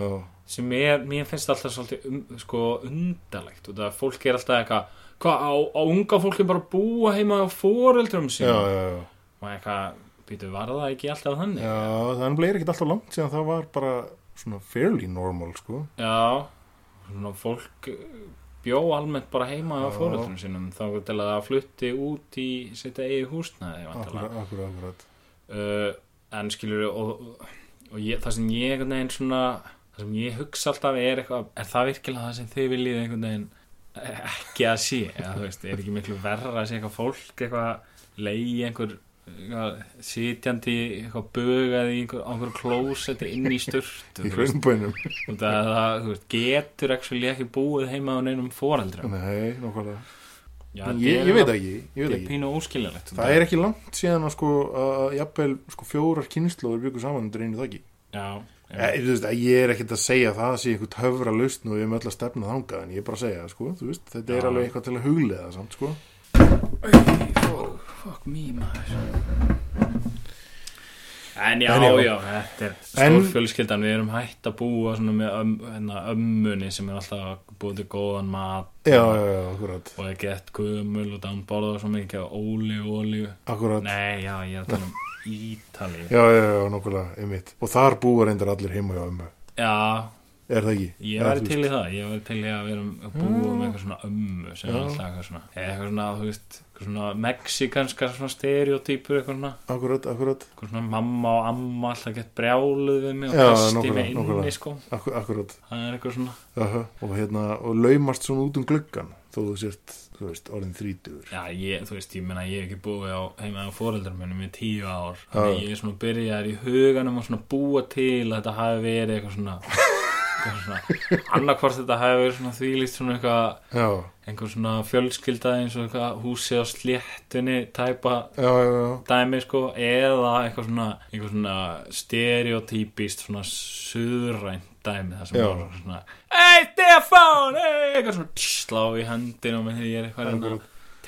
D: Já,
E: sem er, mér finnst alltaf svolítið um, sko undarlegt og það fólk er alltaf eitthvað hvað á, á unga fólki bara að búa heima á foreldrum
D: já,
E: sínum
D: já, já.
E: og eitthvað, býtu, var það ekki alltaf þannig?
D: Já, það er nefnilega ekkert alltaf langt síðan það var bara svona fairly normal sko.
E: Já, svona fólk eh, bjó almennt bara heima á
D: Já.
E: fóröldunum sínum þá til að það flutti út í sitt eigi húsnaði
D: Akkurat,
E: væntanlega.
D: akkurat, akkurat.
E: uh, en skilur og, og ég, það sem ég einhvern veginn svona það sem ég hugsa alltaf er eitthvað er það virkilega það sem þið viljið einhvern veginn ekki að sé eða, þú veist, er ekki miklu verra að sé eitthvað fólk eitthvað leiði einhver eitthvað, sitjandi eitthvað bugað í einhver, á einhver klósetti inn í sturt
D: Í hraunbænum.
E: Og það, það þú veist, getur actually ekki búið heima á neinum foreldrum
D: Nei, nákvæmlega.
E: Já,
D: Ég, ég veit ekki, ég
E: Það
D: veit
E: er
D: ekki.
E: pínu óskiljanlegt
D: Það er ekki langt síðan að sko, að jafnvel, sko, fjórar kynnslóður byggur saman undir einu þakki.
E: Já,
D: E,
E: ég,
D: þú veist, ég er ekkert að segja að það sé einhvern höfra lausn og við erum öll að stefna þangað en ég er bara að segja, sko, þú veist, þetta er
E: Já.
D: alveg eitthvað til að huglega samt, sko.
E: fuck me maður En já,
D: En já.
E: já, þetta er
D: En-
E: stórfjölskyldan Við erum hætt að búa svona með öm, hérna, ömmunni sem er alltaf að búa til góðan mat
D: Já, já, já, akkurat.
E: og er gett gömul og dán borða svo mikið af ólíu, ólíu
D: Akkurat.
E: Nei, já, ég er að tala um Ítalíu
D: Já, já, já, nokkulega, einmitt. Og þar búa reyndar allir heima hjá ömmu.
E: Já,
D: Er það ekki?
E: Ég
D: Eða,
E: væri
D: þú
E: til í
D: veist,
E: það, ég væri til í að vera um, að búa með eitthvað svona ömmu sem er
D: Já.
E: alltaf eitthvað svona eða eitthvað svona, þú veist, eitthvað svona mexikanska svona stereotypur eitthvað svona
D: Akkurat, akkurat,
E: eitthvað svona mamma og amma alltaf gett brjáluð við mig og
D: Já,
E: kasti
D: nákvæmlega,
E: mig
D: nákvæmlega.
E: inni sko
D: akkur, akkurat.
E: það er eitthvað svona,
D: Aha. Og hérna, og laumast svona út um gluggan, þó þú sért, þú veist, orðin þrítugur.
E: já ég, þú veist, ég menna ég hef ekki búið á heima á foreldrar minnum í tíu ár
D: Já.
E: þannig að ég er svona byrjaðar í huganum að svona búa til að þetta hafi verið eitthvað svona, eitthvað svona annarkvort þetta hafi verið svona þvílíkt svona eitthvað
D: Já,
E: einhver svona fjölskylda eins og eitthvað húsi á sléttunni tæpa
D: já, já, já.
E: dæmi sko eða eitthvað svona, eitthvað svona stereotypist svona suðrænt dæmi það sem
D: Já.
E: var svona Hey Stefán, hey eitthvað svona tss, slá í hendina með því ég er eitthvað reyna að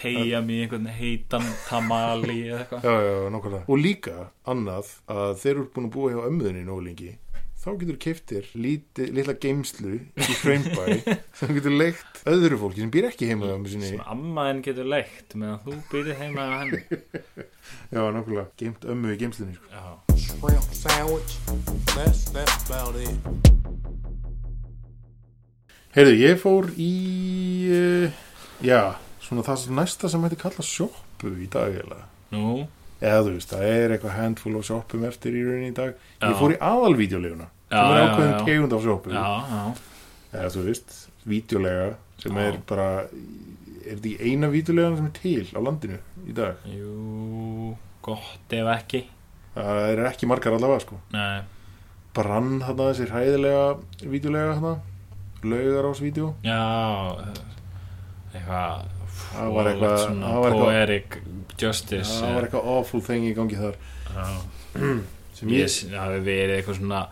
E: tegja mig í einhvern heitan tamali eða eitthvað
D: Já, já, nákvæmlega. Og líka annað að þeir eru búin að búa hjá ömmuðinni nóg lengi, þá getur keiftir líti, litla geimslu í freymbæ sem getur leikt öðru fólki sem býr ekki heima hjá ömmu sinni.
E: sem ammaðin getur leikt meðan þú býrið heima að henni
D: Já, nákvæmlega. Geimt ömmu í geimslunni, sko.
E: Já.
F: Shrimp sandwich. That's that's about it.
D: Heyrðu, ég fór í, uh, já, svona það sem næsta sem hætti kalla sjoppu í dag, eiginlega.
E: Nú,
D: Eða þú veist, það er eitthvað handfull á sjoppum eftir í rauninni í dag.
E: Já.
D: Ég fór í aðalvídeoleguna,
E: Já,
D: sem er
E: já, já.
D: ákveðin tegund af sjoppu.
E: já, já
D: eða þú veist, vídeolega sem
E: Já.
D: er bara er þetta í eina vídeolegan sem er til á landinu í dag,
E: Jú, gott ef ekki
D: það er ekki margar allavega sko,
E: Nei,
D: brann þarna þessi hræðilega vídeolega þarna laugar ás vídeo
E: Já eitthvað
D: Það var eitthvað- það var eitthvað-
E: poetic justice
D: það var eitthvað awful thing í gangi þar sem
E: sem ég
D: ég,
E: það hafi verið eitthvað svona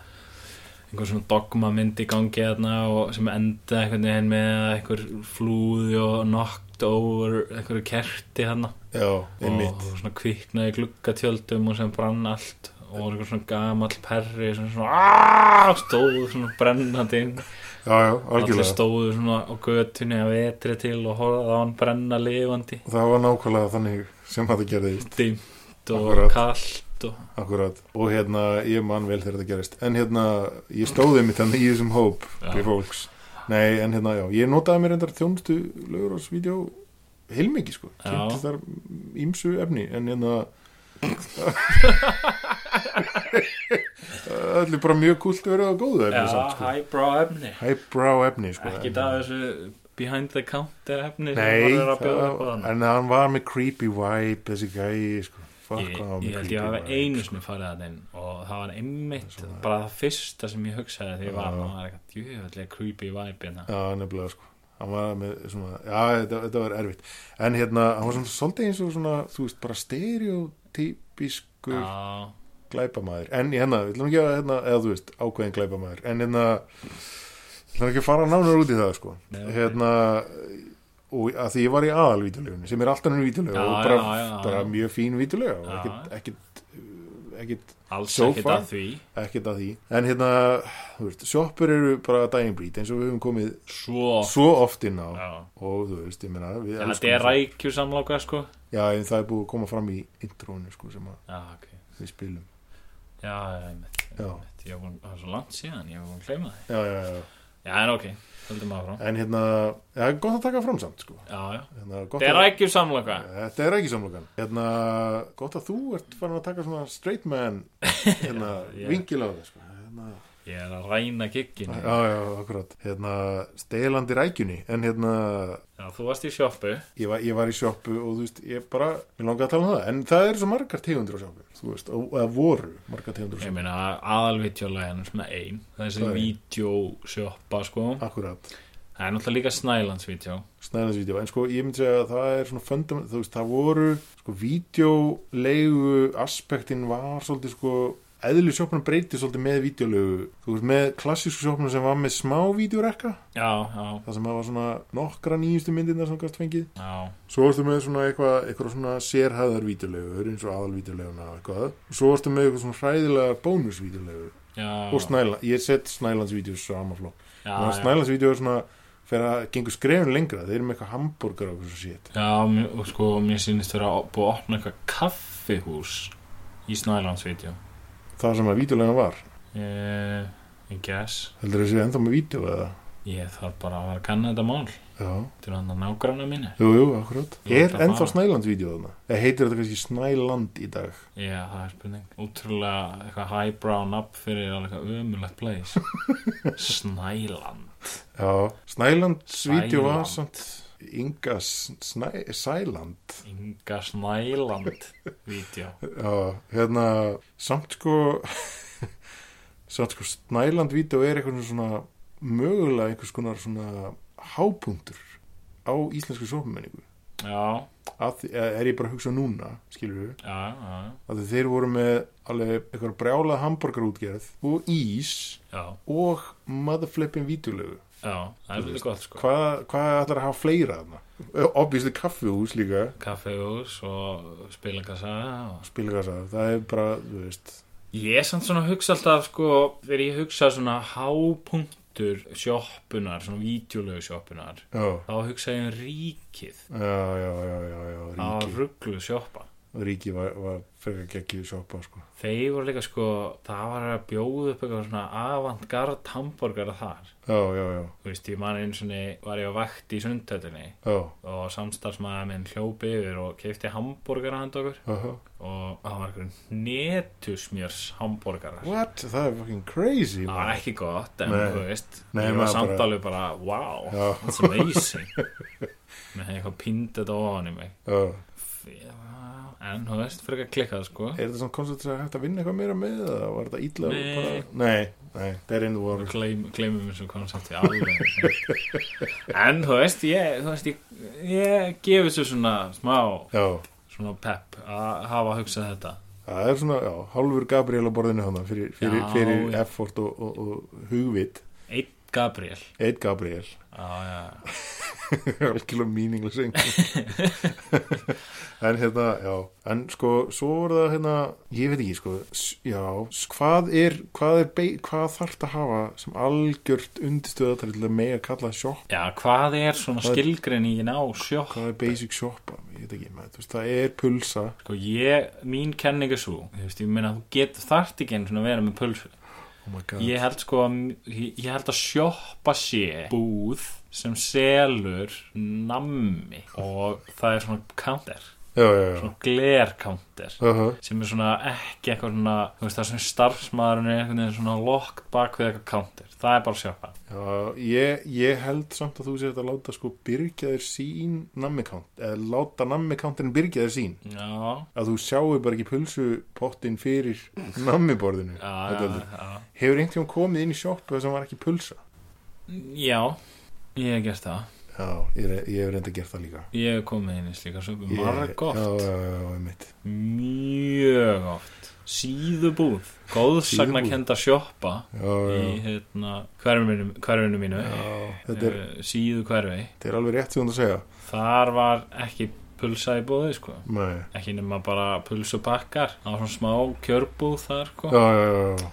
E: einhver svona dogma mynd í gangi þarna og sem enda einhvern veginn með að einhver flúði og knocked over einhverju kerti þarna
D: já,
E: og
D: einmitt
E: svona kviknaði í gluggatjöldum og sem brann allt og var einhver svona gamall perri sem svona aaaah stóð svona brennandi inn
D: já, já,
E: allir
D: algjörlega,
E: stóðu svona á götunni að vetri til og horfaði á hann brenna lifandi
D: það var nákvæmlega þannig sem þetta gerðist
E: dimmt og
D: Akkurat.
E: kalt og
D: Akkurat, og hérna, ég man vel þegar þetta gerist En hérna, ég stóði mitt þannig í þessum hóp
E: Já.
D: Við fólks Nei, en hérna, já, ég notaði mér endar þjónustu lögur ás vídeo heilmikið, sko,
E: Já.
D: kynntist þar ímsu efni, en hérna Allir bara mjög kúlt að vera á góðu efni samt, sko.
E: highbrow efni
D: Highbrow efni, sko
E: ekki
D: en-
E: það þessu behind the counter efni
D: Nei,
E: sem var að bjóða upp á
D: það,
E: hann
D: en hann var með creepy vibe, þessi gæi, sko Fuck,
E: ég,
D: hvað hann var með
E: ég held
D: creepy
E: ég hafa
D: vibe,
E: einu sinni farið að inn og það var einmitt bara það fyrsta sem ég hugsaði þegar ég var það var eitthvað djöðlega creepy vibe hérna.
D: Já, nefnilega sko hann var með svona, já, þetta, þetta var erfitt en hérna, hann var svona svolítið eins og svona þú veist, bara stereotypískur
E: já,
D: glæpamaður en ég hérna, við ætlum ekki að hérna, eða þú veist, ákveðin glæpamaður en hérna, ég ætlum ekki að fara nánar út í það sko
E: Nei, ok.
D: hérna og að því ég var í aðalvítulegunni sem er allt annar vítulega
E: Já,
D: og bara,
E: já, já, já.
D: bara mjög fín vítulega og
E: Já.
D: ekkit, ekkit, ekkit
E: alls
D: So
E: ekkert
D: far.
E: að því
D: ekkert að því en hérna, þú veist, sjoppur eru bara dying breed eins og við höfum komið
E: svo
D: svo oft inn á
E: Já.
D: og þú veist, ég meina við
E: En
D: elskum
E: þetta er
D: það.
E: rækjusamláka sko
D: já, en það er búið að koma fram í intrónu sko, sem að
E: Já, ok
D: við spilum
E: Já, já, einmitt,
D: Já.
E: einmitt. Ég var búin, það er svo langt síðan, ég var búin að gleyma það
D: já, já, já.
E: Já, en ok, höldum maður frá
D: en hérna, það er gott að taka fram samt sko.
E: Já, já,
D: hérna, gott
E: þetta er
D: að-
E: rækjusamláka
D: þetta er ekki samlokan hérna, gott að þú ert farin að taka svona straight man hérna,
E: Já, já.
D: vingil á það sko. hérna,
E: Ég er að ræna gigginu
D: já, já, akkurat hérna, stelandi rækjunni en hérna,
E: Já, þú varst í sjoppu
D: ég var, ég var í sjoppu og þú veist, ég bara, ég langaði að tala um það en það eru svo margar tegundur á sjoppu þú veist, og- eða voru margar tegundur á
E: Ég
D: sjoppu
E: meina, aðalvítjólæðan er svona ein Þessi
D: Það er ein.
E: vítjósjoppa, sko
D: akkurat,
E: Það er náttúrulega líka snælandsvítjó
D: snæðansvídeó en sko, ég myndi segja að það er svona fundament, þú veist, það voru, sko, vídeólegu aspektin var svolítið, sko, eðli sjoppunum breyti svolítið með vídeólegu, þú veist, með klassísku sjoppunum sem var með smá vídeorekka
E: Já, já,
D: það sem var svona nokkra nýjustu myndirna sem gæst fengið
E: já
D: Svo varstu með svona eitthvað, eitthvað svona sérhæðar vídeolegur eins og aðalvídeoleguna og eitthvað og svo varstu með eitthvað svona hræðilega bónusvídeolegur
E: Já,
D: og Snæland, ég set Snælandsvídeos sama flokk
E: já,
D: ah,
E: já.
D: Snælandsvídeos er svona fyrir að gengur skrefin lengra, þeir eru með eitthvað hambúrgar og eitthvað svo sétt
E: Já, mér- og sko, mér sýnist vera að búið að opna eitthvað kaffihús í Snælandsvídeó.
D: það sem að vídeoleguna var,
E: Eh, I guess.
D: heldur þessi ennþá með vídeo eða,
E: Ég þarf bara að vera að kanna þetta mál
D: já,
E: til hann að nágranna mínu.
D: jú, jú, akkurat
E: Ég ætla
D: er
E: að
D: ennþá
E: fara.
D: Snælandsvídeo þarna, eða heitir þetta kannski Snæland í dag,
E: Já, það er spurning. Útrúlega eitthvað highbrow nafn fyrir alveg eitthvað ömulegt place. Snæland.
D: já Snælandsvídeo var
E: Sæland.
D: samt Inga S- Snæ, Sæland
E: Inga Snæland-vídeó.
D: Já, hérna, samt sko samt sko Snæland Vídeó er eitthvað svona mögulega einhvers konar svona hápunktur á íslensku sópumenningu
E: Já,
D: að því, eða er ég bara að hugsa núna, skilur við
E: já, já,
D: að þeir voru með alveg eitthvað brjálað hambúrgarútgerð og ís
E: já,
D: og motherflippin vítulegu
E: já, það er svolítið gott sko.
D: hvað, hvað ætlar að hafa fleira þarna? Obvísli kaffihús líka
E: Kaffihús og spilangasa og
D: spilgasa, það er bara, þú veist
E: Ég er samt svona að hugsa alltaf sko þegar ég hugsa svona hápunktur sjoppunar, svona vítjulegu sjoppunar
D: já,
E: þá hugsa ég um ríkið
D: já, já, já, já, já
E: á
D: ríki.
E: rugglu sjoppa
D: Ríki var, var frekar geggið sjoppa sko.
E: Þeir voru líka sko, það var að bjóða upp eitthvað svona avantgard hambúrgara þar
D: Já, já, já,
E: Þú veist, ég man einu svona, var ég á vakt í sundhöllinni
D: já,
E: og samstarfsmaður minn hljópi yfir og keipti hambúrgara handa okkur
D: aha
E: og það var eitthvað netusmjörs hambúrgarar
D: What? Það er fucking crazy
E: Það var
D: man.
E: ekki gott, en
D: Nei.
E: þú veist
D: Nei,
E: Ég var
D: maður
E: samt
D: bara-
E: alveg bara, wow,
D: Já.
E: that's amazing Mér hefði eitthvað pínt þetta ofan í mig
D: Já.
E: Já, En þú veist, fyrir ekki klikkað, sko
D: Er þetta svona koncept sem er hægt að vinna eitthvað meira með eða var þetta illa
E: Nei.
D: bara... Nei, nei, það er einu
E: Við
D: voru
E: gleym, gleymum þessu koncepti alveg En þú veist, ég, þú veist, ég, ég gefi þessu svona smá,
D: Já,
E: svona pep að hafa hugsað þetta
D: það er svona, já, hálfur Gabriel á borðinu hana fyrir, fyrir,
E: Já,
D: fyrir
E: já.
D: effort og, og, og hugvit
E: Einn Gabriel
D: Eitt Gabriel,
E: Já, já,
D: algjörlega meaningless einhver En hérna, já En sko, svo voru það hérna Ég veit ekki, sko, s- já s- Hvað er, hvað er, bei- hvað þarf að hafa sem algjört undirstöða til að mega kalla sjopp
E: já, hvað er svona
D: Hvað er-
E: skilgreiningin á sjokk?
D: hvað er basic shoppa, ég veit ekki maður, þú veist, það er pulsa
E: Sko ég, mín kenning er svo Þú veist, ég meina þú getur þart ekki einu svona að vera með pulsu
D: oh my god,
E: Ég held sko að, ég ég held að sjoppa sé búð sem selur nammi og það er svona counter
D: já, já, já
E: svona gler counter
D: uh -huh.
E: sem er svona ekki eitthvað svona þú veist það sem starfsmaðurinn er einhvern veginn svona lokt bak við eitthvað counter það er bara sjoppa
D: já, ég, ég held samt að þú sér að láta sko byrgjaður sín nammikant eða láta nammikantinn byrgjaður sín
E: Já,
D: að þú sjáu bara ekki pulsupottin fyrir nammiborðinu
E: já,
D: Þetta
E: já,
D: heldur.
E: já.
D: hefur einhvern komið inn í sjoppu sem var ekki pulsa
E: já ég hef gert það
D: já, ég, re- ég hef reynda gert það líka
E: Ég hef komið inn í slíka sögu
D: Ég-
E: margótt,
D: já, já, já, já, einmitt
E: mjög oft síðubúð, góðsagnakenda sjoppa
D: já, já,
E: í hérna, hverfinu, hverfinu mínu
D: já, þetta er,
E: eh, síðu hverfi
D: þetta er alveg rétt sem þú ert að segja
E: þar var ekki pulsa í bóði sko.
D: Nei.
E: ekki nema bara pulsupakkar það var svona smá kjörbúð þar sko.
D: já, já, já, já.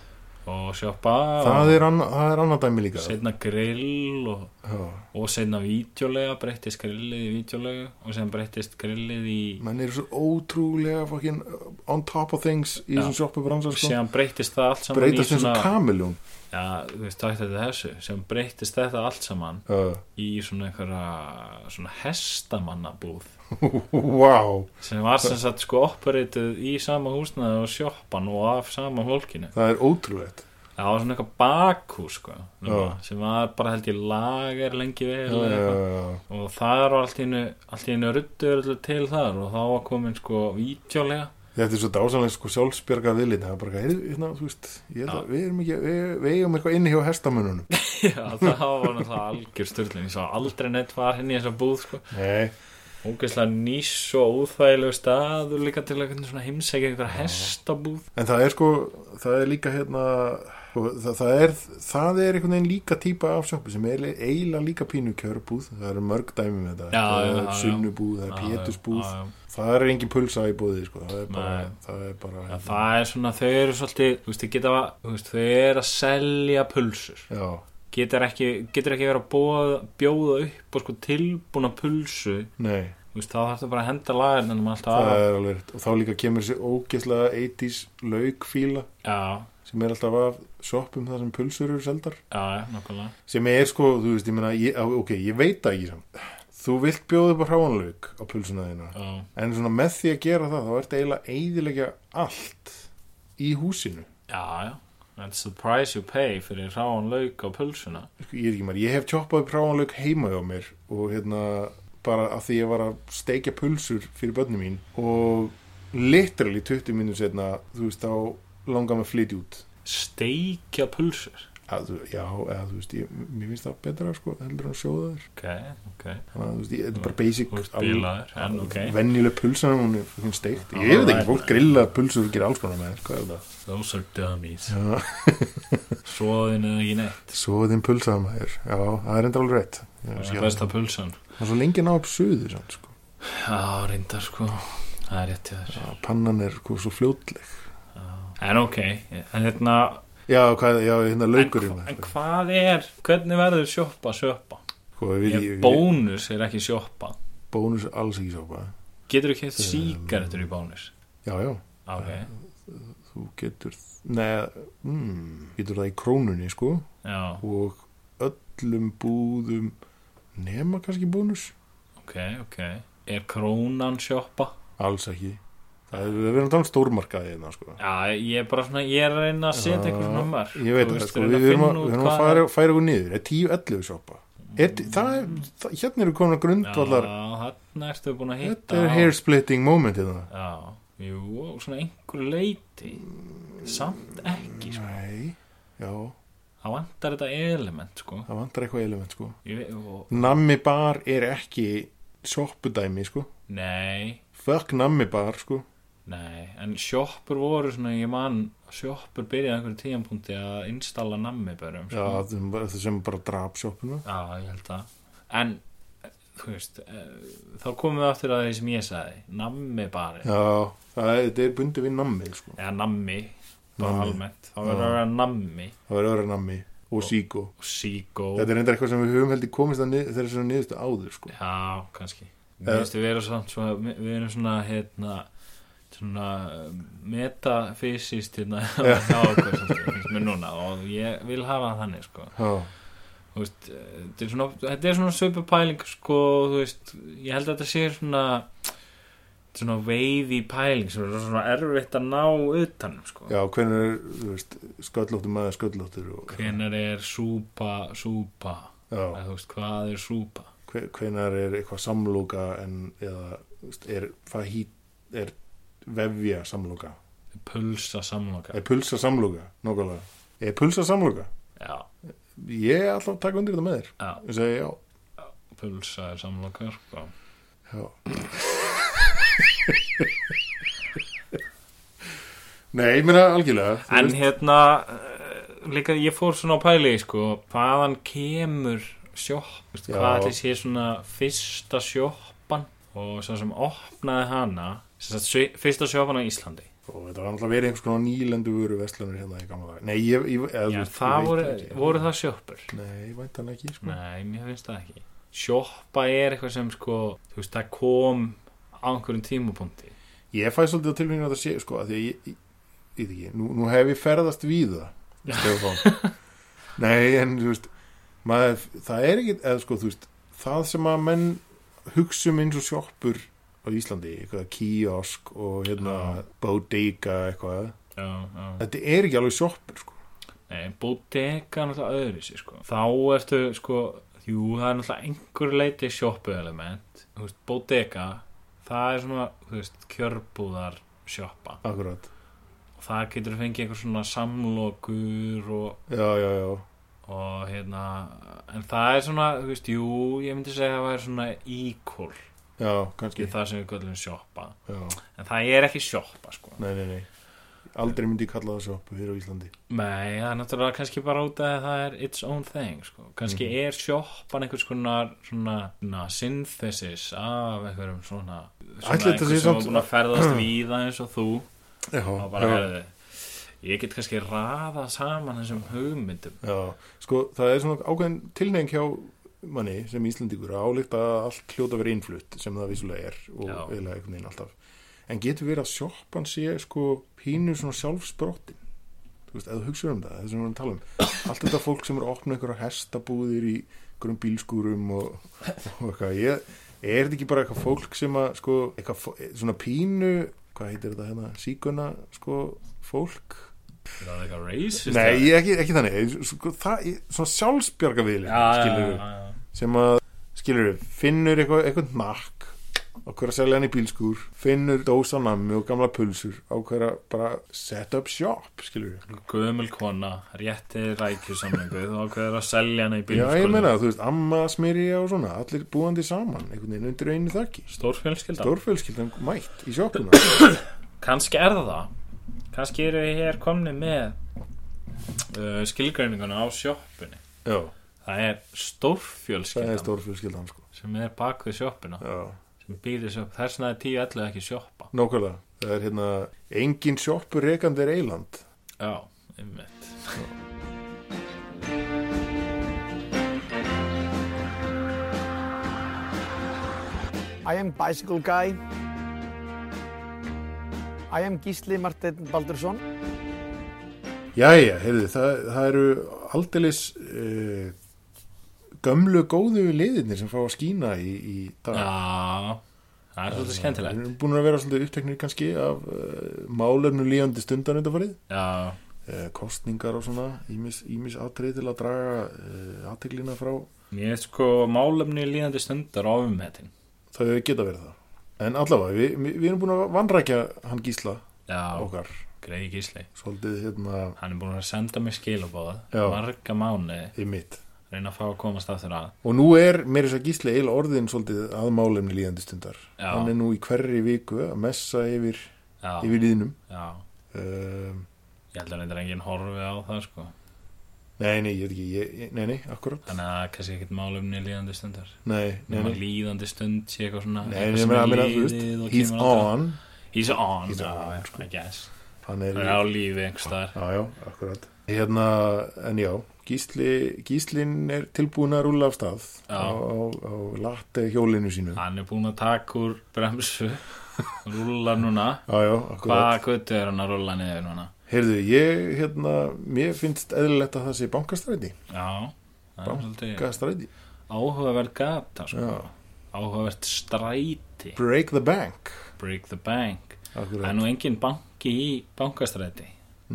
E: og sjoppa
D: það
E: og
D: er anna- það er annað dæmi líka
E: setna grill og,
D: já,
E: og setna vítjulega breyttist grillið í vítjulegu og sem breyttist grillið í
D: menn eru svo ótrúlega fucking on top of things í
E: Já.
D: þessum sjoppu bransan
E: og
D: sko.
E: sem breyttist það allt saman
D: breytast
E: í
D: eins
E: svona
D: og kamiljón
E: já, þú veist, takk þetta þessu sem breyttist þetta allt saman
D: uh,
E: í svona einhverja svona hestamannabúð
D: wow
E: sem var sem sagt sko operatuð í sama húsnaði og sjoppan og af sama fólkinu
D: það er ótrúlegt
E: það var svona eitthvað bakhús sko, nema,
D: Já.
E: sem var bara held ég lager lengi vel
D: já,
E: eða
D: já,
E: eitthvað.
D: já,
E: og það var allt í einu allt í einu ruddur öllu til þar og þá var komin sko vítjólega
D: Þetta er svo dásalega sko sjálfsbjarga viðlita það er bara, heyrðu, hérna, þú veist ég held að við erum ekki, við, við eigum eitthvað inni hjá hestamönunum
E: það var náttúrulega algjör styrlun ég sá aldrei neitt var henni í þessa búð sko.
D: Nei,
E: ógeðslega nýs og óþægilegu staður líka til að svona heimsækja einhverja hestabúð
D: en það er sko það er líka hérna sko, það, það er, það er einhvern veginn líka típa af sjoppu sem er eiginlega líka pínu kjörbúð, það eru mörg dæmi með þetta
E: Já, já,
D: það er
E: já, já.
D: sunnubúð, það
E: Já,
D: er
E: já,
D: pétusbúð
E: já, já.
D: það er engin pulsa í búði sko, það er bara,
E: Nei.
D: það er bara hérna.
E: Já, það er svona, þau eru svolítið, þú veist, þau geta, þú veist, þau eru að selja pulsur.
D: já,
E: Getur ekki, getur ekki verið að bóða, bjóða upp og sko tilbúna pulsu,
D: nei
E: þú veist, þá þarf það bara að henda lagarnir um alltaf
D: það
E: að.
D: er alveg, rétt. og þá líka kemur þessi ógeðslega 80s laukfíla
E: Já,
D: sem er alltaf af sjoppum þar sem pulsur eru seldar
E: já, já, nokkulega.
D: sem er sko, þú veist, ég meina ég, á- ok, ég veit það ekki samt þú vilt bjóða upp á hráanlaug á pulsuna þína
E: Já,
D: en svona með því að gera það þá ertu eiginlega eiginlega allt í húsinu
E: já, já. That's the price you pay fyrir ráan lauk á pulsuna.
D: Sko, ég, er ekki maður, ég hef tjóppað upp hráanlaug heima hjá mér og hérna bara af því ég var að steikja pulsur fyrir börnum mín og literally 20 minnum setna þú veist, þá langar mig að flytja út
E: Steikja pulsur.
D: að, þú- já, eða þú veist, ég, mér finnst það betra sko, heldur en að sjóða þér
E: Ok, ok.
D: þannig að þú veist, ég, þetta er bara basic
E: Þú ert
D: alveg-
E: bílaður, en ok. Ah,
D: venjuleg pulsan hún er hún steikt ég veit ekki, fólk grilla pulsur og gera alls konar með sko, þær, hvað er það?
E: Those are dummies. Svoðin eða ekki neitt.
D: Svoðin pulsaða maður, já, það er enda alveg rétt Ég
E: Það
D: sé
E: er
D: það.
E: besta pulsan.
D: það er svo lengi að ná upp suðu samt, sko.
E: Já, reyndar sko Það er rétt hjá þér
D: Já, pannan er sko, svo fljótleg
E: En ok, en hérna
D: já, hvað, já, hérna laukurinn
E: en, en hvað er, hvernig verður sjoppa sjoppa?
D: sko,
E: Ég,
D: við, ég, ég,
E: bónus er ekki sjoppa
D: bónus alls ekki sjópa
E: Getur þú
D: Ehm.
E: keitt sígarettur í bónus?
D: já, já,
E: Ok,
D: þú getur neða, mm, getur það í krónunni sko,
E: já,
D: og öllum búðum nema kannski bónus
E: ok, ok Er krónan sjoppa?
D: alls ekki það er, við erum að tala um stórmarkaði hérna, sko.
E: Já, ég er bara svona, ég er að reyna að setja eitthvað svona mörg
D: Ég veit það, sko, við erum að, við erum að færa, færa okkur niður, er 10-11 sjoppa er, það, er, það, hérna eru komin að grundvallar,
E: Já, þarna ertu búin að hitta
D: þetta er
E: á-
D: hairsplitting moment hérna.
E: Já, jú, og svona einhverju leiti Samt ekki, sko
D: Nei, já,
E: Það vantar þetta element, sko
D: það vantar eitthvað element, sko.
E: Ég veit, og,
D: Nammi bar er ekki sjoppudæmi, sko.
E: Nei,
D: Fuck nammi bar, sko.
E: nei En sjoppur voru svona, ég man Sjoppur byrjaði á einhverjum tíðanpunkti að installa nammi börum
D: Já, það sem bara- það sem bara drap sjoppuna.
E: Já, ég held að En, eh, þú veist eh, Þá komum við aftur að því sem ég sagði Nammi bari
D: Já, það er, þetta er bundið við nammi, sko.
E: Eða nammi, bara
D: Nammi.
E: almennt Þá verður að vera nammi
D: Það er öðra nammi og síko.
E: og sígó
D: Þetta er reyndar eitthvað sem við höfum heldur komist að nið, þessar niðurstu áður, sko.
E: Já, kannski
D: Eh.
E: Mér finnst við erum samt svo, við erum svona hérna, svona metafysist hérna á okkur svolítið, finnst mér núna og ég vil hafa það þannig sko
D: Já,
E: Þú veist, eh, þetta er svona, þetta er svona söpupæling sko, þú veist, ég held að þetta sé svona svona veiði pæling sem er svona erfitt að ná utanum sko
D: já hvernig er, þú veist, sköllóttur maður sköllóttur og...
E: hvenær er súpa, súpa
D: Já.
E: eða þú veist, hvað er súpa
D: hve- hvenær er eitthvað samloka en eða þú veist, er, fahí, er vefja samloka
E: pulsa samloka
D: er pulsa samloka nokkulega er pulsa samloka
E: já,
D: ég er alltaf að taka undir þetta með þér
E: já
D: ég segi já
E: pulsa er samlokur sko.
D: Já. Nei, ég meina algjörlega þú
E: en
D: veist,
E: hérna eh, líka ég fór svona á pæli sko, hvaðan kemur sjopp, veist,
D: Já.
E: hvað ætli sé svona fyrsta sjoppan og svo sem opnaði hana sem sagt, svi- fyrsta sjoppan á Íslandi
D: og þetta var alltaf verið einhvers konar nýlendu vöru vestlunir hérna í gamla dag Nei, ég, ég, eða,
E: Já,
D: þú veist, ég
E: það
D: veit
E: voru,
D: ekki.
E: voru það sjoppur
D: Nei, væntan ekki, sko
E: Nei, mér finnst það ekki Sjoppa er eitthvað sem sko þú veist, það kom á einhverjum tímapunkti
D: Ég fæ svolítið á tilfenginu að það sé, sko að Því að ég, ég, ég veit ekki, nú, nú hef ég ferðast víða Stefán Nei, en þú veist maður, Það er ekki, eða sko, þú veist Það sem að menn hugsa um eins og sjoppur á Íslandi, eitthvað kiosk og hérna
E: Já.
D: bodega eitthvað,
E: Já, já
D: þetta er ekki alveg sjoppur sko.
E: Nei, bodega er náttúrulega öðru sér sko. Þá ertu sko, jú, það er náttúrulega einhver leiti sjoppu element. Þú veist, bodega, það er svona, þú veist, kjörbúðar sjoppa.
D: Akkurat
E: Og það getur að fengið eitthvað svona samlokur og,
D: Já, já, já
E: og hérna, en það er svona, þú veist, jú, ég myndi segja að það er svona equal
D: Já, kannski
E: í það sem við göllum sjoppa.
D: já.
E: En það er ekki sjoppa, sko.
D: Nei, nei, nei Aldrei myndi ég kalla það sjoppu hér á Íslandi
E: Nei, það er náttúrulega kannski bara út af að það er its own thing, sko. Kannski
D: Mhm.
E: er sjoppan einhvers konar svona, svona synthesis af einhverjum svona, svona
D: Ætli þetta
E: einhver
D: sé
E: sem
D: samt-
E: er búin að ferðast víða eins og þú
D: Já,
E: og bara herði ég get kannski raða saman þessum hugmyndum.
D: já. Sko, það er svona ákveðin tilnefing hjá manni sem Íslandingur að álíkta að allt hljóta verið innflutt sem það vissulega er og
E: Já.
D: eiginlega einhvern veginn alltaf En getur verið að sjoppan sé sko pínu svona sjálfsbrottin Þú veist, eða hugsa um það, það sem við erum að tala um Allt þetta fólk sem er að opna einhverja hestabúðir í einhverjum bílskúrum og, og eitthvað ég, Er þetta ekki bara eitthvað fólk sem að sko, eitthvað, fó- svona pínu hvað heitir þetta hérna, síkuna sko, fólk
E: Er það eitthvað racist?
D: Nei, ég, ekki, ekki þannig Ég- sko, það, ég- Svona sjálfsbjarga viðli
E: ja,
D: skilur
E: ja, ja.
D: sem að skilur finnur eitthvað, eitthvað nakk okkur að selja hann í bílskúr finnur dósa nammi og gamla pulsur ákveður að bara set up shop skilur
E: Gömul kona, rétti rækjusamlingu þú ákveður að selja hana í
D: Já,
E: bílum
D: ég meina það, þú veist, amma, smyrja og svona allir búandi saman, einhvern veginn undir einu þakki
E: Stórfjölskylda?
D: Stórfjölskyldan mætt í sjoppuna
E: kannski er það það kannski eru við hér komni með uh, skilgreininguna á sjoppunni
D: Já,
E: það er
D: það er
E: stórfjölskyldan
D: stórfjölskyldan sko
E: sem er bak við sjoppuna
D: Já,
E: sem býr þessu upp, þess vegna er 10-11 ekki sjoppa
D: nákvæmlega Það er hérna, engin sjoppur rekandi er eiland
E: já, einmitt
G: I am bicycle guy. I am Gísli Marteinn Baldursson.
D: Jæja, heyrðu, það, það eru aldeilis uh, gömlu góðu liðinir sem fá að skína í, í dag.
E: já, það er svolítið
D: Við
E: skemmtilegt
D: erum búin að vera svolítið uppteknir kannski af uh, málefnu lífandi stundan undanfarið,
E: já,
D: uh, kostningar og svona, ímis, ímis atrið til að draga uh, aðteglina frá.
E: mér er sko málefni líðandi stundar ofumhetin
D: Það geta verið það. En allavega, við, við, við erum búin að vanrækja hann Gísla
E: já,
D: okkar,
E: greiði gísli
D: svolítið hérna
E: hann er búin að senda mér skilabóð
D: Já.
E: marga mánu,
D: í mitt.
E: reyna að fá að komast aftur að
D: Og nú er meira þess að Gísli eil orðin svolítið að málefni líðandi stundar.
E: Já.
D: Hann er nú í hverri viku að messa yfir
E: já,
D: yfir líðinum
E: já
D: um,
E: Ég held að reyndar enginn horfi á það sko
D: Nei, nei, ég veit ekki ég, ég- Nei, nei, akkurat
E: Þannig að það er kannski ekkert málumni líðandi stundar
D: Nei, nei,
E: Nefnum
D: nei,
E: að líðandi stund sé eitthvað svona
D: nei,
E: eitthvað
D: nei,
E: sem
D: nei,
E: er
D: nei,
E: liðið
D: nei
E: og
D: He's
E: kemur aldrei-
D: on
E: He's on,
D: He's
E: já,
D: on,
E: já,
D: sko.
E: I guess
D: Hann er
E: Það er á lífi einhverstaðar
D: Já, já, akkurat Hérna, en já, Gísli Gíslin er tilbúin að rúlla af stað
E: Já.
D: á, á, á latte hjólinu sínu Já,
E: Hann er búinn að taka úr bremsu Rúlar núna
D: já,
E: Hvaða
D: akkurat
E: guttu er hann að rúla niður núna?
D: Heyrðu, ég, hérna, mér finnst eðlilegt að það sé bankastræti
E: Já, það er svolítið
D: Bankastræti
E: áhugavert gata sko
D: Já.
E: Áhugavert stræti
D: Break the bank
E: Break the bank Það er
D: Akkurat
E: nú enginn banki í bankastræti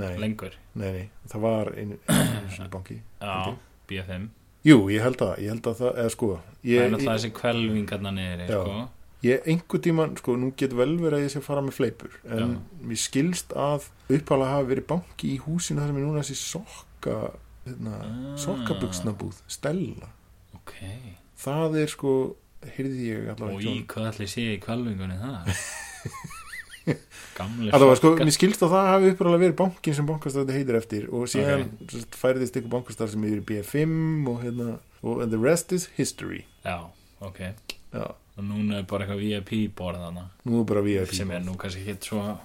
D: Nei,
E: Lengur
D: nei, nei, það var einu, einu sinni banki
E: Já, BFM
D: Jú, ég held að, ég held að það, eða sko
E: Það er
D: ég,
E: náttúrulega þessi kvelvingarna niður
D: Já.
E: sko.
D: ég einhver tíman, sko, nú get vel verið að ég sé að fara með fleipur, en mér skilst að uppálega hafi verið banki í húsinu þar sem er núna
E: Ah.
D: þessi sokka hérna, sokkabuxnabúð, stella
E: Ok,
D: það er sko heyrði ég allavega
E: Og í hvað ætli sé í kvalvingunni það? Gamli
D: Það var sko, mér skilst að það hafi uppræðlega verið bankin sem bankastæði heitir eftir og síðan okay. færðist ykkur bankastæði sem yfir í BFM og hérna og and the rest is history
E: Já, ok
D: Já,
E: Og núna er bara eitthvað VIP borð þarna
D: nú er bara VIP
E: sem er nú kannski ekki svo uh,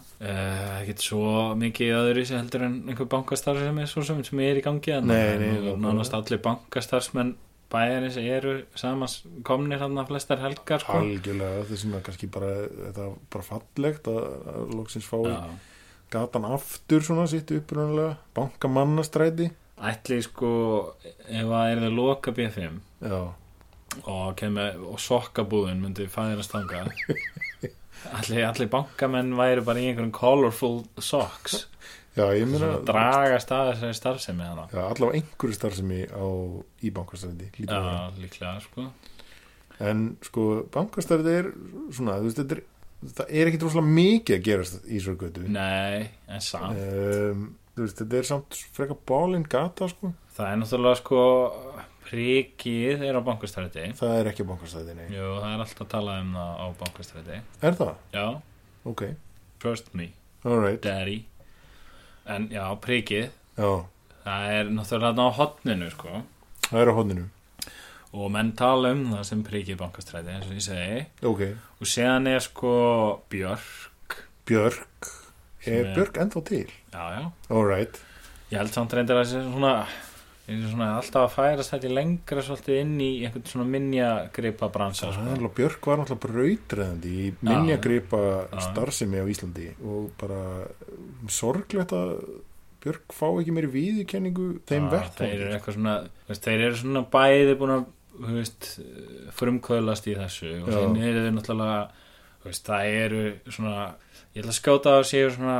E: ekki svo mikið öðru sem heldur en einhver bankastarf sem er svo sem, sem er í gangi en
D: Nei, nei,
E: nú,
D: nei.
E: nánast allir bankastarfsmenn bæjarins eru samans komnir hann flestar helgar sko.
D: Algjörlega, þessum er kannski bara þetta var bara fallegt að, að loksins fái
E: Já.
D: gatan aftur svona sitt uppræðlega bankamannastræti
E: ætli sko ef það er það loka B5
D: Já,
E: og, kemur, og sokkabúðin myndi fæðirast þanga allir, allir bankamenn væri bara í einhverjum colorful socks
D: Já ég meina
E: að dragast að þessari starfsemi hana
D: Já, allavega einhverju starfsemi á, í bankastræti lítur að vera.
E: Já, líklega sko
D: En sko, bankastæði er svona, þú veist, þetta er, það er ekkit rosalega mikið að gerast í svo götu.
E: Nei, en samt
D: Um, þú veist, þetta er samt frekar bálinn gata, sko.
E: Það er náttúrulega sko prikið er á bankastræti
D: Það er ekki á bankastæði, nei.
E: Jú, það er alltaf talað um það á bankastræti
D: Er það?
E: Já,
D: Ok,
E: trust me,
D: all right.
E: daddy En já, prikið
D: Já,
E: Það er náttúrulega þarna á hotninu sko
D: það er á hodninu.
E: Og menn tala um það sem prikið bankastræti eins og ég segi
D: Ok,
E: Og séðan er sko Björk
D: Björk.
E: Sem
D: Er
E: er-
D: Björk ennþá til?
E: Já, já
D: All right.
E: Ég held samt reyndar að það sé svona eins og svona alltaf að færast þetta í lengra svolítið inn í einhvern svona minja gripa bransa
D: Það er
E: sko.
D: alveg, Björk var náttúrulega brautræðandi í minnjagripa starfsemi á Íslandi og bara um, sorglegt að Björk fá ekki meiri viðurkenningu þeim
E: Já, þeir eru
D: verðtón.
E: eitthvað svona þú veist, þeir eru svona bæði búin að þú veist, frumkvöðlast í þessu og
D: Já.
E: þeir eru þeir náttúrulega þú veist, það eru svona ég ætla að skjóta á að séu svona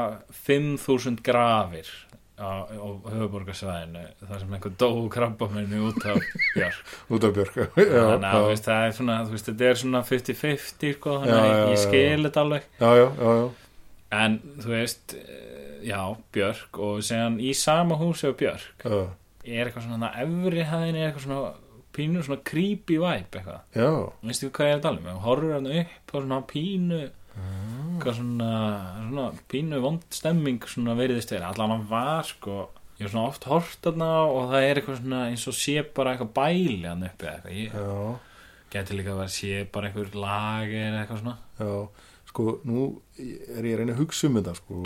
E: 5.000 grafir á, á höfuborgarsvæðinu þar sem einhver dó krabbamenni út af björk
D: Út af Björk. Já,
E: þannig að
D: já.
E: þú veist, það er svona þú veist, þetta er svona 50-50 sko, þannig
D: Já,
E: að
D: já,
E: ég
D: já,
E: skil þetta alveg
D: já, já, já, já.
E: en þú veist eh, já, Björk og segjan í sama húsi og Björk
D: Já,
E: er eitthvað svona þannig að efri hæðin er eitthvað svona pínu svona creepy vibe eitthvað
D: já,
E: veistu hvað ég er að tala um, Ef þú horfir hann upp og svona pínu
D: Ah.
E: eitthvað svona, svona pínu vond stemming svona veriðist þeirra, allan hann var sko ég er svona oft hort hann og það er eitthvað svona eins og sé bara eitthvað bæli hann uppi eða eitthvað, ég
D: já,
E: geti líka að vera sé bara einhver lag eða eitthvað svona
D: já. Sko, nú er ég að reyna að hugsa um þetta, sko.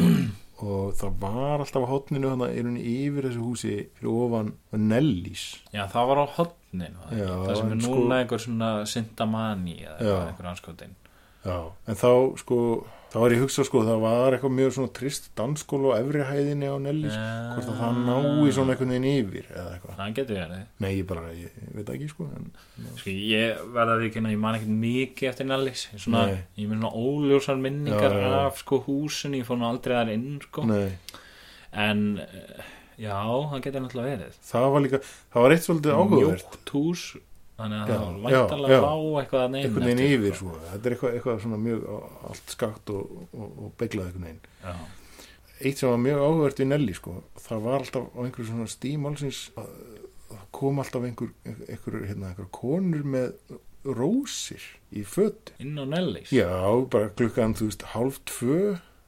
D: og það var alltaf á hotninu hann að er hún yfir þessu húsi fyrir ofan Nellís.
E: já það var á hotnin það,
D: Já,
E: það sem
D: en
E: er
D: sko-
E: núna einhver svona syndamani eða eitthvað,
D: Já.
E: einhver anskotin
D: Já. En þá, sko, þá er ég að hugsa, sko, það var eitthvað mjög svona trist danskóla á efri hæðinni á Nellís.
E: Já.
D: Hvort að það nái svona einhvern veginn yfir eða eitthvað.
E: það getur verið
D: Nei, ég bara, ég, ég veit ekki, sko. En,
E: Sko, ég verða að vikina, ég man ekkert mikið eftir Nellis, Ég svona,
D: Nei.
E: ég með svona óljósar minningar
D: Já, já, já.
E: af sko húsinu, ég fór nú aldrei þar inn sko,
D: nei.
E: en eh, já, það getur náttúrulega verið
D: Það var líka, það var eitt svolítið áhugavert.
E: mjótt hús, þannig að
D: Já,
E: það var
D: já,
E: væntalega
D: já.
E: lá eitthvað að neina
D: einhvern veginn yfir sko. þetta er eitthvað, eitthvað svona mjög á- allt skakt og, og, og beglað einhvern veginn
E: Já,
D: eitt sem var mjög áhugavert við Nelly sko, það var alltaf á einhverju svona stímálsins að það kom alltaf einhver, einhver, hérna, einhver konur með rósir í fötu
E: inn á Nellis
D: já, bara klukkan, þú veist, hálf tvö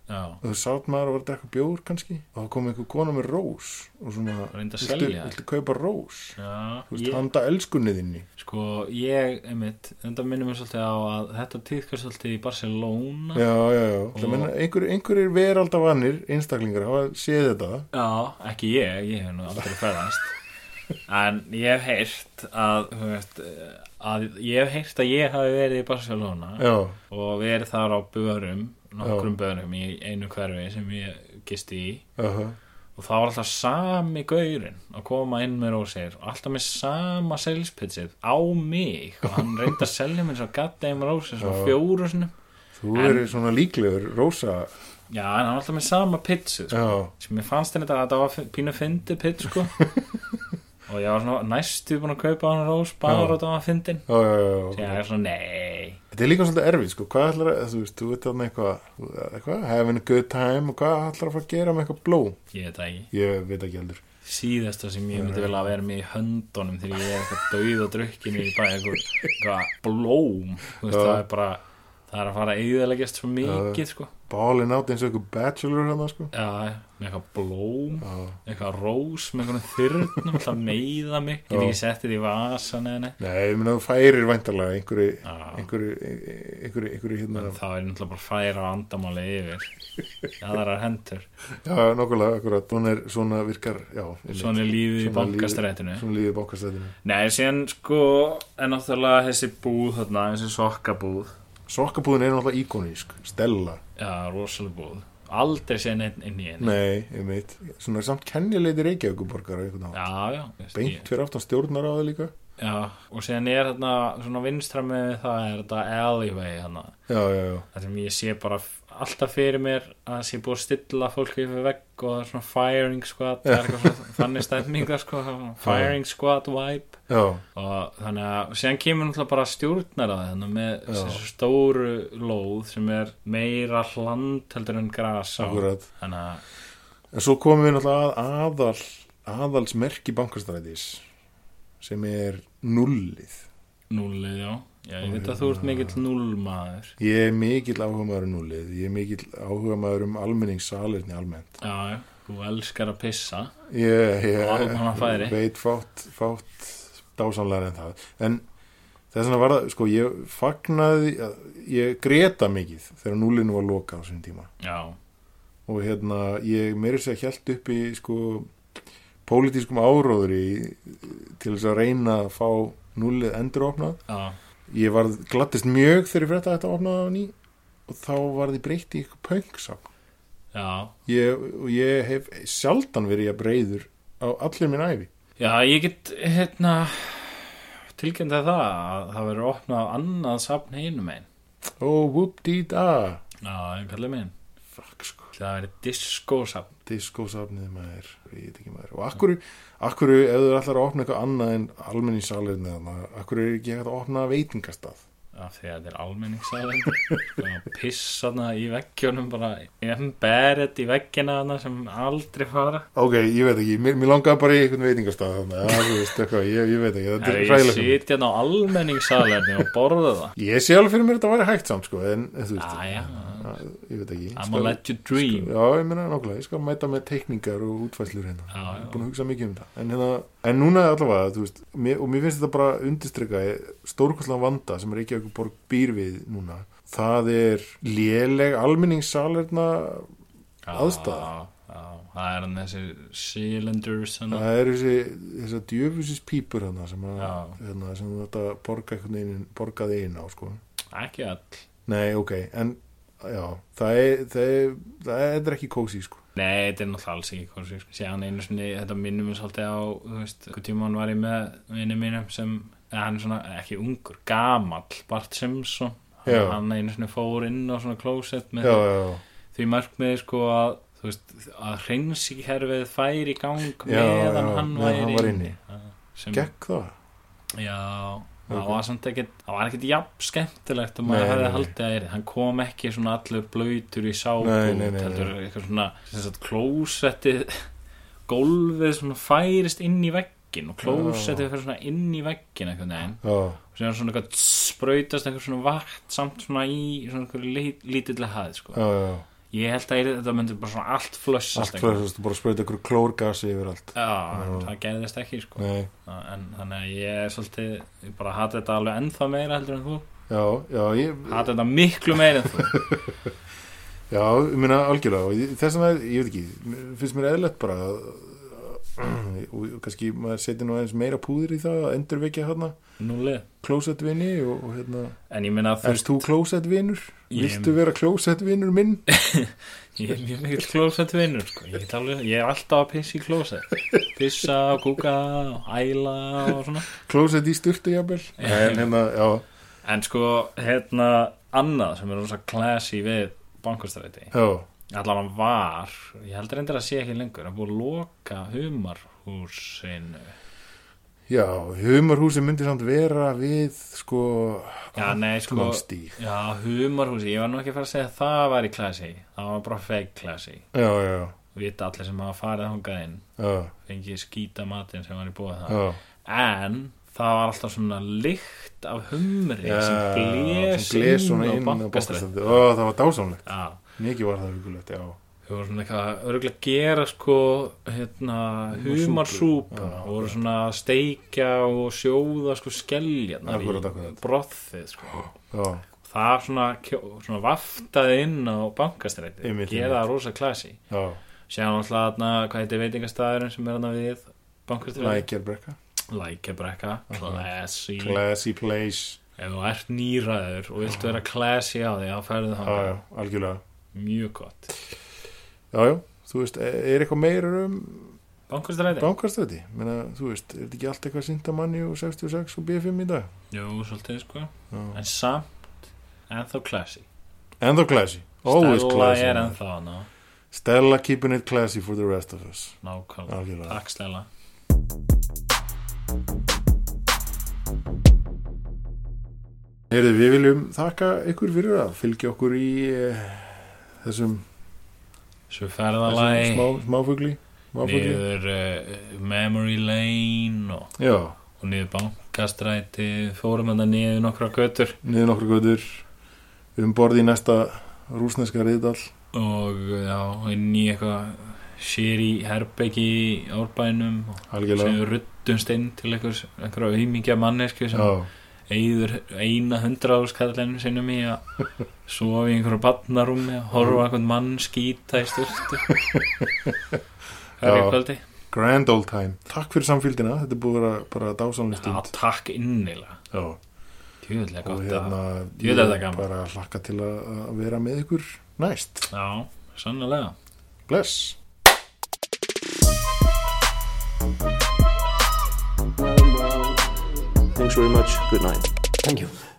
E: já,
D: og þú satt maður og var að drekka bjór kannski og það kom einhver kona með rós og svona,
E: Reyndi að
D: viltu,
E: selja þær."
D: viltu kaupa rós
E: já
D: þú veist,
E: ég,
D: handa elskunni þinni
E: sko, ég, einmitt þetta minnum mér svolítið á að þetta týðkast svolítið í Barcelona
D: já, já, já, það menna einhver, einhverjir veraldavanir, einstaklingar hafa séð þetta
E: Já, ekki ég, ég hef nú aldrei ferðast En ég hef heyrt að, þú veist, eh, að ég hef heyrt að ég hafi verið í Barcelona
D: Já,
E: og verið þar á börum, nokkrum börum í einu hverfi sem ég gisti í
D: aha,
E: og það var alltaf sami gaurinn að koma inn með rósir og alltaf með sama selspitsið á mig og hann reyndi að selja mér svo gatt eða með rósir svo fjóru sinum
D: þú
E: En-
D: en... eru svona líklegur, Rósa
E: Já, en hann var alltaf með sama pitsið sko.
D: Já,
E: sem ég fannst henni þetta að þetta var fi- pínu fyndi pitt sko og ég var svona næstu búin að kaupa hann rós bara
D: Já.
E: út af hann fyndin
D: já, já, já,
E: og
D: já.
E: ég er svona nei
D: Þetta er líka svolítið erfið, sko, hvað ætlar að, þú veist, þú veit þarna eitthvað, þú- eitthvað, having a good time og hvað ætlar að fara að gera með eitthvað blóm?
E: ég veit það ekki
D: Ég veit ekki heldur.
E: síðasta sem ég myndi vel að vera með í höndunum þegar ég er eitthvað dauð og drukkin í bara eitthvað, eitthvað blóm þú veist,
D: Já.
E: það er bara það er að fara að eigðileggjast svo mikið sko.
D: Ballin átt eins og einhver bachelor hérna sko
E: já, með eitthvað blóm
D: Já.
E: eitthvað rós með einhvern þyrnum alltaf meiða mig, get
D: Já.
E: ekki sett þetta í vasan eða neitt
D: Nei, ég meina þú færir væntalega einhverju,
E: Já.
D: einhverju, einhverju, einhverju hérna,
E: þá er náttúrulega bara að færa andamáli yfir í aðrar hendur
D: já, nokkulega, akkurat, svona, er, svona virkar, já. einmitt.
E: Svona er lífið í
D: Svona lífið-
E: bankastrætinu
D: Svona lífið í bankastrætinu.
E: Nei, síðan sko er náttúrulega þessi búð þarna, þessi sokkabúð
D: Sokkabúðin er náttúrulega íkonísk, Stella,
E: Já, rosalega búð Aldrei séð neitt inn í henni
D: nei, ég veit, svona samt kennileiti Reykjavíkuborgar, einhvern veginn,
E: Já, já veist,
D: beint fyrir aftan stjórnar á það líka.
E: ég- Já, og síðan er þarna svona vinstra með það er þetta alleyway þarna
D: Já, já, já,
E: Það sem ég sé bara f- alltaf fyrir mér að það sé búið að stilla fólk yfir vegg og það er svona firing squad það er eitthvað svona þannig stemminga sko, svona firing squad vibe
D: já,
E: og þannig að síðan kemur náttúrulega bara stjórnar að þannig með
D: Já.
E: þessu stóru lóð sem er meira hland heldur en gras á
D: akkurat.
E: þannig að
D: En svo komum við náttúrulega að aðal, aðalsmerki bankastrætis sem er nullið.
E: núlið já Já, ég veit að þú ert mikill núlmaður
D: Ég er mikill áhuga maður um núlið, ég er mikill áhuga maður um almenningssalirni almennt.
E: Já, já, þú elskar að pissa
D: Ég,
E: Og almannafæri.
D: ég veit fátt, fátt dásamlega en það. En þess vegna var það, sko, ég fagnaði, ég greta mikið þegar núlinu var lokað á þessum tíma.
E: Já,
D: Og hérna, ég meiri sér hjælt upp í, sko, pólitískum áróðri til þess að reyna að fá núlið enduropnað.
E: já,
D: Ég varð glattist mjög þegar ég frétta að þetta opnaði á ný og þá varði breytt í eitthvað pöngsam.
E: já
D: ég, og ég hef sjaldan verið að breyður á allir minn æfi
E: Já, ég get hérna tilkynntað það að það verður opnað á annað safn hinum einn
D: og whoop-dee-da
E: Já, ég kallið minn
D: fuck sko,
E: Það verður diskosafn
D: diskosafnið maður ég veit ekki maður, og akkur, akkur ef þú ætlar að opna eitthvað annað en almenni salirni þannig, akkur er ekki hægt að opna veitingastað
E: af því að þetta er almenningssalinn og pissana í veggjónum bara emberið í veggina þarna sem aldrei fara
D: ok, ég veit ekki, mér, mér langaði bara í eitthvað veitingastað þannig, að þú veist eitthvað, ég, ég veit ekki þetta
E: Ef
D: er
E: ég
D: ræðilega
E: sitja á almenningssalerni og borða það
D: ég sé alveg fyrir mér að þetta væri hægt samt sko, en en þú veist,
E: Æja,
D: ég veit ekki
E: Ah, I'm
D: Skal-
E: gonna let you dream
D: Já, ég meina nokkulega, ég skal mæta með teikningar og útfæslur hérna.
E: Já,
D: ég
E: já.
D: er búin að hugsa mikið um það. En, hérna, en núna allavega, þú veist, mér, og mér finnst þetta bara undirstrykka stórkostlega vanda sem Reykjavík borg býr við núna. Það er léleg almenningssalerna,
E: Já,
D: aðstaða.
E: já, Það er hann þessi cylinders hann
D: það er þessi, þessi djöfusis pípur hana sem, að,
E: Já.
D: hérna, sem þetta borga einhvern veginn, borgaði einn á, sko.
E: Ekki all
D: Nei, ok, en já, það er, það er, það er, það er ekki kósi, sko.
E: Nei, þetta er náttúrulega alls ekki kósi sko. Sér hann einu sinni, þetta minnum við svolítið á Þú veist, hvað tíma hann var ég með vinnu mínum sem, eða hann er svona, ekki ungur gamall, Bart Simpson
D: Já.
E: hann, hann einu sinni fór inn á svona klósett með
D: Já, já, já.
E: því markmiði sko að þú veist, að hreinsíkerfið fær í gang
D: Já,
E: meðan
D: já,
E: hann
D: meðan
E: væri
D: hann var inni.
E: Já, sem,
D: Gekk það?
E: já,
D: Ok.
E: það var samt ekkert það var ekkert jafn skemmtilegt og maður
D: Nei,
E: hefði
D: nei, nei.
E: haldið að er hann kom ekki svona allur blöytur í sábú
D: Nei, nei, nei,
E: heldur eitthvað svona sem sagt, klósettið gólfið svona færist inn í veggin og klósettið fyrir svona inn í veggin einhvern veginn
D: Já,
E: og sér svona eitthvað sprautast eitthvað svona vatn samt svona í svona eitthvað lit, lítillega hafið sko
D: já, já.
E: Ég held að yrði- þetta myndi bara svona allt flössast
D: Allt flæðast, bara sprauta ykkur klórgasi yfir allt.
E: Já, en það gerðist ekki sko.
D: Nei,
E: En þannig að ég er svolítið Ég bara hata þetta alveg ennþá meira heldur en þú
D: já, já, ég,
E: Hata þetta miklu meira en þú
D: já, ég meina algjörlega og ég- þess vegna, ég veit ekki, mér- finnst mér eðlert bara að, og kannski maður setja nú aðeins meira púður í það að endurvekja hérna
E: Núlið
D: klósettvinni og, og hérna,
E: En ég meina að þú
D: erst þú klósettvinnur?
E: Ég-
D: Viltu vera klósettvinnur minn?
E: Ég er mjög mikill klósett vinnur sko. ég, get alveg, ég er alltaf að pissa í klósett Pissa og kúka og æla og svona
D: Klósett í styrtu jafnvel? Nei, en hérna, já,
E: En sko, hérna Annað sem er rosa classy við bankastræti
D: já,
E: allan hann var ég held reyndar að sé ekki lengur að búið að loka humarhúsinu
D: já, humarhúsi myndi samt vera við, sko,
E: já nei sko
D: Amtmannsstíg.
E: já humarhúsi, ég var nú ekki að fara að segja að það var í klasi það var bara fake klasi
D: Já, já, já,
E: vita allir sem hafa farið hangað inn
D: já,
E: fengið skýta matinn sem var í búið það
D: já,
E: en það var alltaf svona lykt af humri
D: já,
E: sem blés
D: sem blés
E: inn
D: svona
E: á
D: inn á
E: bankastræði
D: bankastræti Ó, það var dásamlegt,
E: já,
D: mikið var það hugulegt já,
E: þau voru svona eitthvað örgulega að gera sko hérna humarsúpu og voru svona að steikja og sjóða sko skeljarnar í
D: Akkurat, akkurat.
E: brothið sko
D: já,
E: það svona, kjó- svona vaftaði inn á bankastræti
D: Einmitt,
E: gera það rosa klasi
D: já
E: séðan alltaf þarna, hvað heitir veitingastæðurinn sem er hann við bankastræti
D: Lækjarbrekka,
E: lækjabrekka,
D: Mhm.
E: classy
D: classy place
E: ef þú ert nýræður og vilt vera classy á því þá færðu
D: já, Mhm. Ah, já,
E: það
D: algjörlega
E: mjög gott
D: já, já, þú veist, e, er eitthvað meira um
E: bankastræti,
D: bankastræti, menna, þú veist, er þetta ekki allt eitthvað sindamanni og 66 og B5 í dag
E: jú, svolítið sko
D: já,
E: en samt ennþá classy
D: en þá classy always
E: Stella
D: classy
E: er
D: man.
E: ennþá ná,
D: Stella keeping it classy for the rest of us
E: nákvæmlega
D: algjörlega,
E: takk Stella
D: heyrðu, við viljum þakka ykkur fyrir að fylgja okkur í eh, þessum
E: svo
D: Þessum
E: ferðalagi
D: smá, smáfugli smáfugli
E: niður uh, memory lane og,
D: já,
E: og niður bankastræti fórum þetta niður nokkra götur
D: niður nokkur göður um borð í næsta rúsneska reyðdal
E: og já, inn í eitthvað sér í herbeki í árbænum og sem
D: algjörlega
E: við ruttumst inn til einhvers, einhverja auðmingja mannesku sem
D: já,
E: eigður eina hundra áskallinu sinum í að sofa í einhverju barnarúmi að horfa á einhvern mann skýta í styrtu hverju
D: Já.
E: kvöldi
D: grand old time takk fyrir samfylgdina, þetta er búið að vera bara dásamlega
E: Já,
D: stund
E: takk innilega
D: já,
E: djúðlega
D: og
E: gott
D: hérna
E: Ég veit að þetta er
D: ég
E: gaman.
D: bara hlakka til að að vera með ykkur næst,
E: að já, sannlega
D: bless
C: Thanks very much. Good night.
B: Thank you.